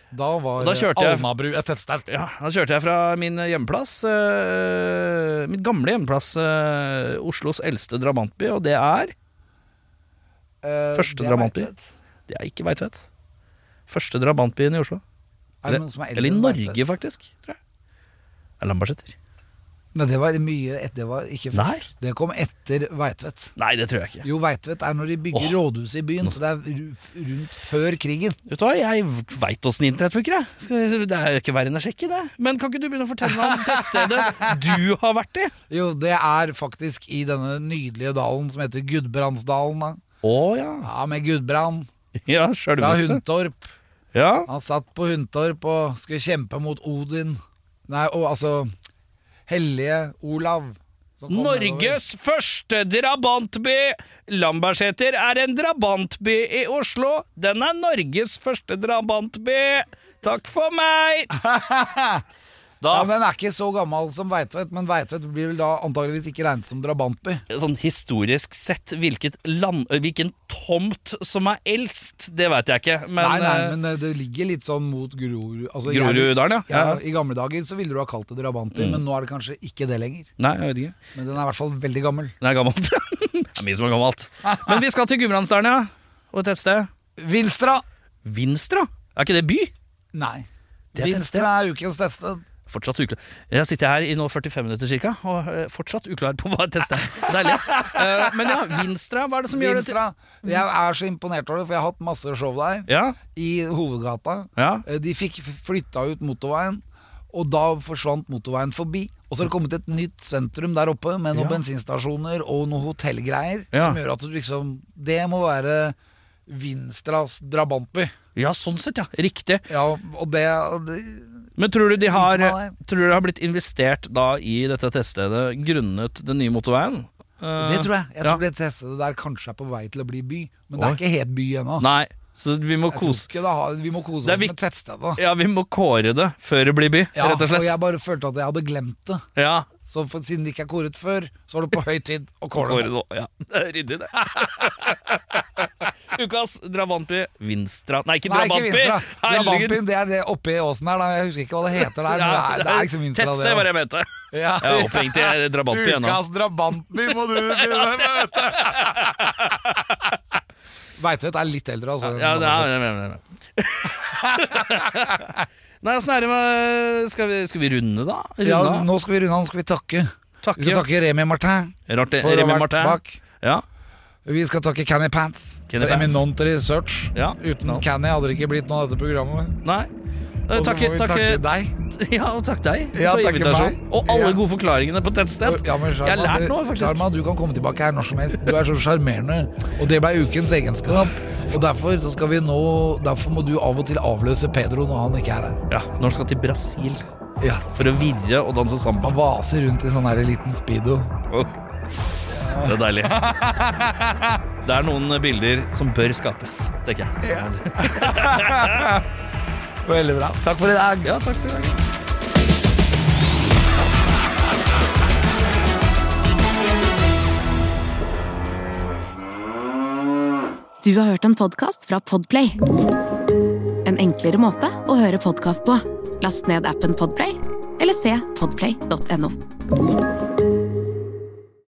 Speaker 6: Da var
Speaker 7: Da kjørte jeg-
Speaker 6: Alnabru et tettsted.
Speaker 7: Ja, Da kjørte jeg fra min hjemplass, eh, mitt gamle hjemplass, eh, Oslos eldste drabantby, og det er
Speaker 6: Eh,
Speaker 7: Første
Speaker 6: det er
Speaker 7: drabantby.
Speaker 6: Veitvet.
Speaker 7: Det er ikke Veitvet. Første drabantbyen i Oslo.
Speaker 6: Er det noen som er eldre
Speaker 7: Eller i
Speaker 6: enn
Speaker 7: Norge,
Speaker 6: Veitvet?
Speaker 7: faktisk. tror jeg Det er Lambertseter.
Speaker 6: Nei, det var mye et- Det var ikke først.
Speaker 7: Nei.
Speaker 6: Det kom etter Veitvet.
Speaker 7: Nei, det tror jeg ikke.
Speaker 6: Jo, Veitvet er når de bygger rådhuset i byen, så det er ru- rundt før krigen.
Speaker 7: Vet du hva, Jeg veit åssen internett funker. jeg. Skal vi- Det er ikke verre enn å sjekke det. Men kan ikke du begynne å fortelle meg om tettstedet du har vært i?
Speaker 6: Jo, det er faktisk i denne nydelige dalen som heter Gudbrandsdalen. Da.
Speaker 7: Å ja.
Speaker 6: Ja, med Gudbrand
Speaker 7: Ja,
Speaker 6: fra
Speaker 7: sjølveste.
Speaker 6: Hundtorp.
Speaker 7: Ja.
Speaker 6: Han satt på Hundtorp og skulle kjempe mot Odin. Nei, og altså Hellige Olav. som kom nedover.
Speaker 7: Norges første drabantby! Lambertseter er en drabantby i Oslo. Den er Norges første drabantby. Takk for meg!
Speaker 6: Ja,
Speaker 7: Da,
Speaker 6: Den er ikke så gammel som Veitvet, men Veitvet blir vel da antageligvis ikke regnet som drabantby.
Speaker 7: sånn historisk sett, hvilket land, ø, hvilken tomt som er eldst, det veit jeg ikke, men,
Speaker 6: nei, nei, men eh, det ligger litt sånn mot Grorud. Altså,
Speaker 7: eh,
Speaker 6: jeg-
Speaker 7: Groruddalen, ja. Mm.
Speaker 6: Ja, I gamle dager så ville du ha kalt det drabantby, men nå er det kanskje ikke det lenger.
Speaker 7: Nei, jeg vet ikke.
Speaker 6: Men den er i hvert fall veldig gammel.
Speaker 7: Det er gammelt. det er mye som er gammelt. Men vi skal til Gudbrandsdalen, ja. Og et tettsted.
Speaker 6: Vinstra!
Speaker 7: Vinstra? Er ikke det by?
Speaker 6: Nei.
Speaker 7: Det er tettsted.
Speaker 6: Vinstra er ukens tettsted.
Speaker 7: Fortsatt uklar. Jeg sitter her i nå 45 minutter cirka, og eh, fortsatt uklar på hva et tettsted er. Deilig. Eh, Men ja, Vinstra, hva er det som gjør det til
Speaker 6: Vinstra. Jeg er så imponert over det, for jeg har hatt masse show der.
Speaker 7: Ja,
Speaker 6: I hovedgata.
Speaker 7: Ja.
Speaker 6: Eh, De fikk f- flytta ut motorveien, og da forsvant motorveien forbi. Og så har det kommet et nytt sentrum der oppe med noen
Speaker 7: Ja.
Speaker 6: bensinstasjoner og noen hotellgreier.
Speaker 7: Ja.
Speaker 6: Som gjør at du liksom Det må være Vinstras drabantby.
Speaker 7: ja, sånn sett, ja. Riktig.
Speaker 6: Ja, og det, det
Speaker 7: Men tror du de har
Speaker 6: Litt som han er.
Speaker 7: Tror du det har blitt investert da i dette tettstedet grunnet den nye motorveien? Eh,
Speaker 6: Det tror jeg. Jeg
Speaker 7: ja.
Speaker 6: tror det testet der kanskje er på vei til å bli by, men det
Speaker 7: Oi.
Speaker 6: er ikke helt by ennå.
Speaker 7: Nei, så vi må
Speaker 6: Jeg tror
Speaker 7: kose
Speaker 6: ikke det har, vi må kose
Speaker 7: Det er
Speaker 6: oss med
Speaker 7: vik-
Speaker 6: tettstedet.
Speaker 7: Ja, vi må kåre det før det blir by,
Speaker 6: Ja,
Speaker 7: rett og slett.
Speaker 6: jeg bare følte at jeg hadde glemt det.
Speaker 7: Ja,
Speaker 6: Så for, siden det ikke er koret før, så var det på høy tid å kåle
Speaker 7: Håret
Speaker 6: det.
Speaker 7: nå. Ja, det er ryddig, det. Ukas drabantby Vinstra Nei, ikke
Speaker 6: Nei, ikke
Speaker 7: drabantby!
Speaker 6: Vinstra.
Speaker 7: Herregud.
Speaker 6: Drabantbyen, det er det oppe i åsen her. Da. Jeg husker ikke hva det heter der. men
Speaker 7: Ja,
Speaker 6: det, er, det er liksom Vinstra,
Speaker 7: Tettsted var det jeg mente.
Speaker 6: Ja.
Speaker 7: Jeg er opphengt i drabantby ennå.
Speaker 6: Ukas drabantby må du begynne med, vet du. Veitvet er litt eldre, altså.
Speaker 7: Ja, ja, ja, ja, ja. Nei, åssen er det med skal vi, skal vi runde, da? Runde
Speaker 6: Ja,
Speaker 7: av?
Speaker 6: nå skal vi runde av, nå skal vi takke. Vi
Speaker 7: Takke
Speaker 6: skal takke Remi Martin
Speaker 7: Rart det-
Speaker 6: for å
Speaker 7: Remi
Speaker 6: ha vært
Speaker 7: Martin.
Speaker 6: bak.
Speaker 7: Ja.
Speaker 6: Vi skal takke Canny Pants
Speaker 7: Canny
Speaker 6: for
Speaker 7: Pants.
Speaker 6: Eminent Research.
Speaker 7: Ja.
Speaker 6: Uten Canny hadde det ikke blitt noe av dette programmet.
Speaker 7: Nei. Eh,
Speaker 6: Og så
Speaker 7: Takke,
Speaker 6: må vi
Speaker 7: takke,
Speaker 6: takke deg.
Speaker 7: Ja, og takk deg
Speaker 6: Ja,
Speaker 7: for
Speaker 6: takke
Speaker 7: invitasjonen.
Speaker 6: meg.
Speaker 7: Og alle
Speaker 6: Ja.
Speaker 7: gode forklaringene på tettsted.
Speaker 6: Ja, men
Speaker 7: jeg har
Speaker 6: Sharma,
Speaker 7: lært
Speaker 6: du-
Speaker 7: noe, faktisk.
Speaker 6: Sharma, du kan komme tilbake her når som helst. Du er så sjarmerende. Og det ble ukens egenskap. Og derfor så skal vi nå Derfor må du av og til avløse Pedro når han ikke er her.
Speaker 7: Ja, Når han skal til Brasil
Speaker 6: Ja.
Speaker 7: for å virre og danse samba.
Speaker 6: Han vaser rundt i sånn her liten speedo.
Speaker 7: Ok. Det er deilig. Det er noen bilder som bør skapes, tenker jeg.
Speaker 6: Veldig bra. Takk for i dag.
Speaker 7: Ja, takk for i dag.
Speaker 4: Du har hørt en podcast fra Podplay En enklere måte å høre podcast på Last ned appen Podplay Eller se podplay.no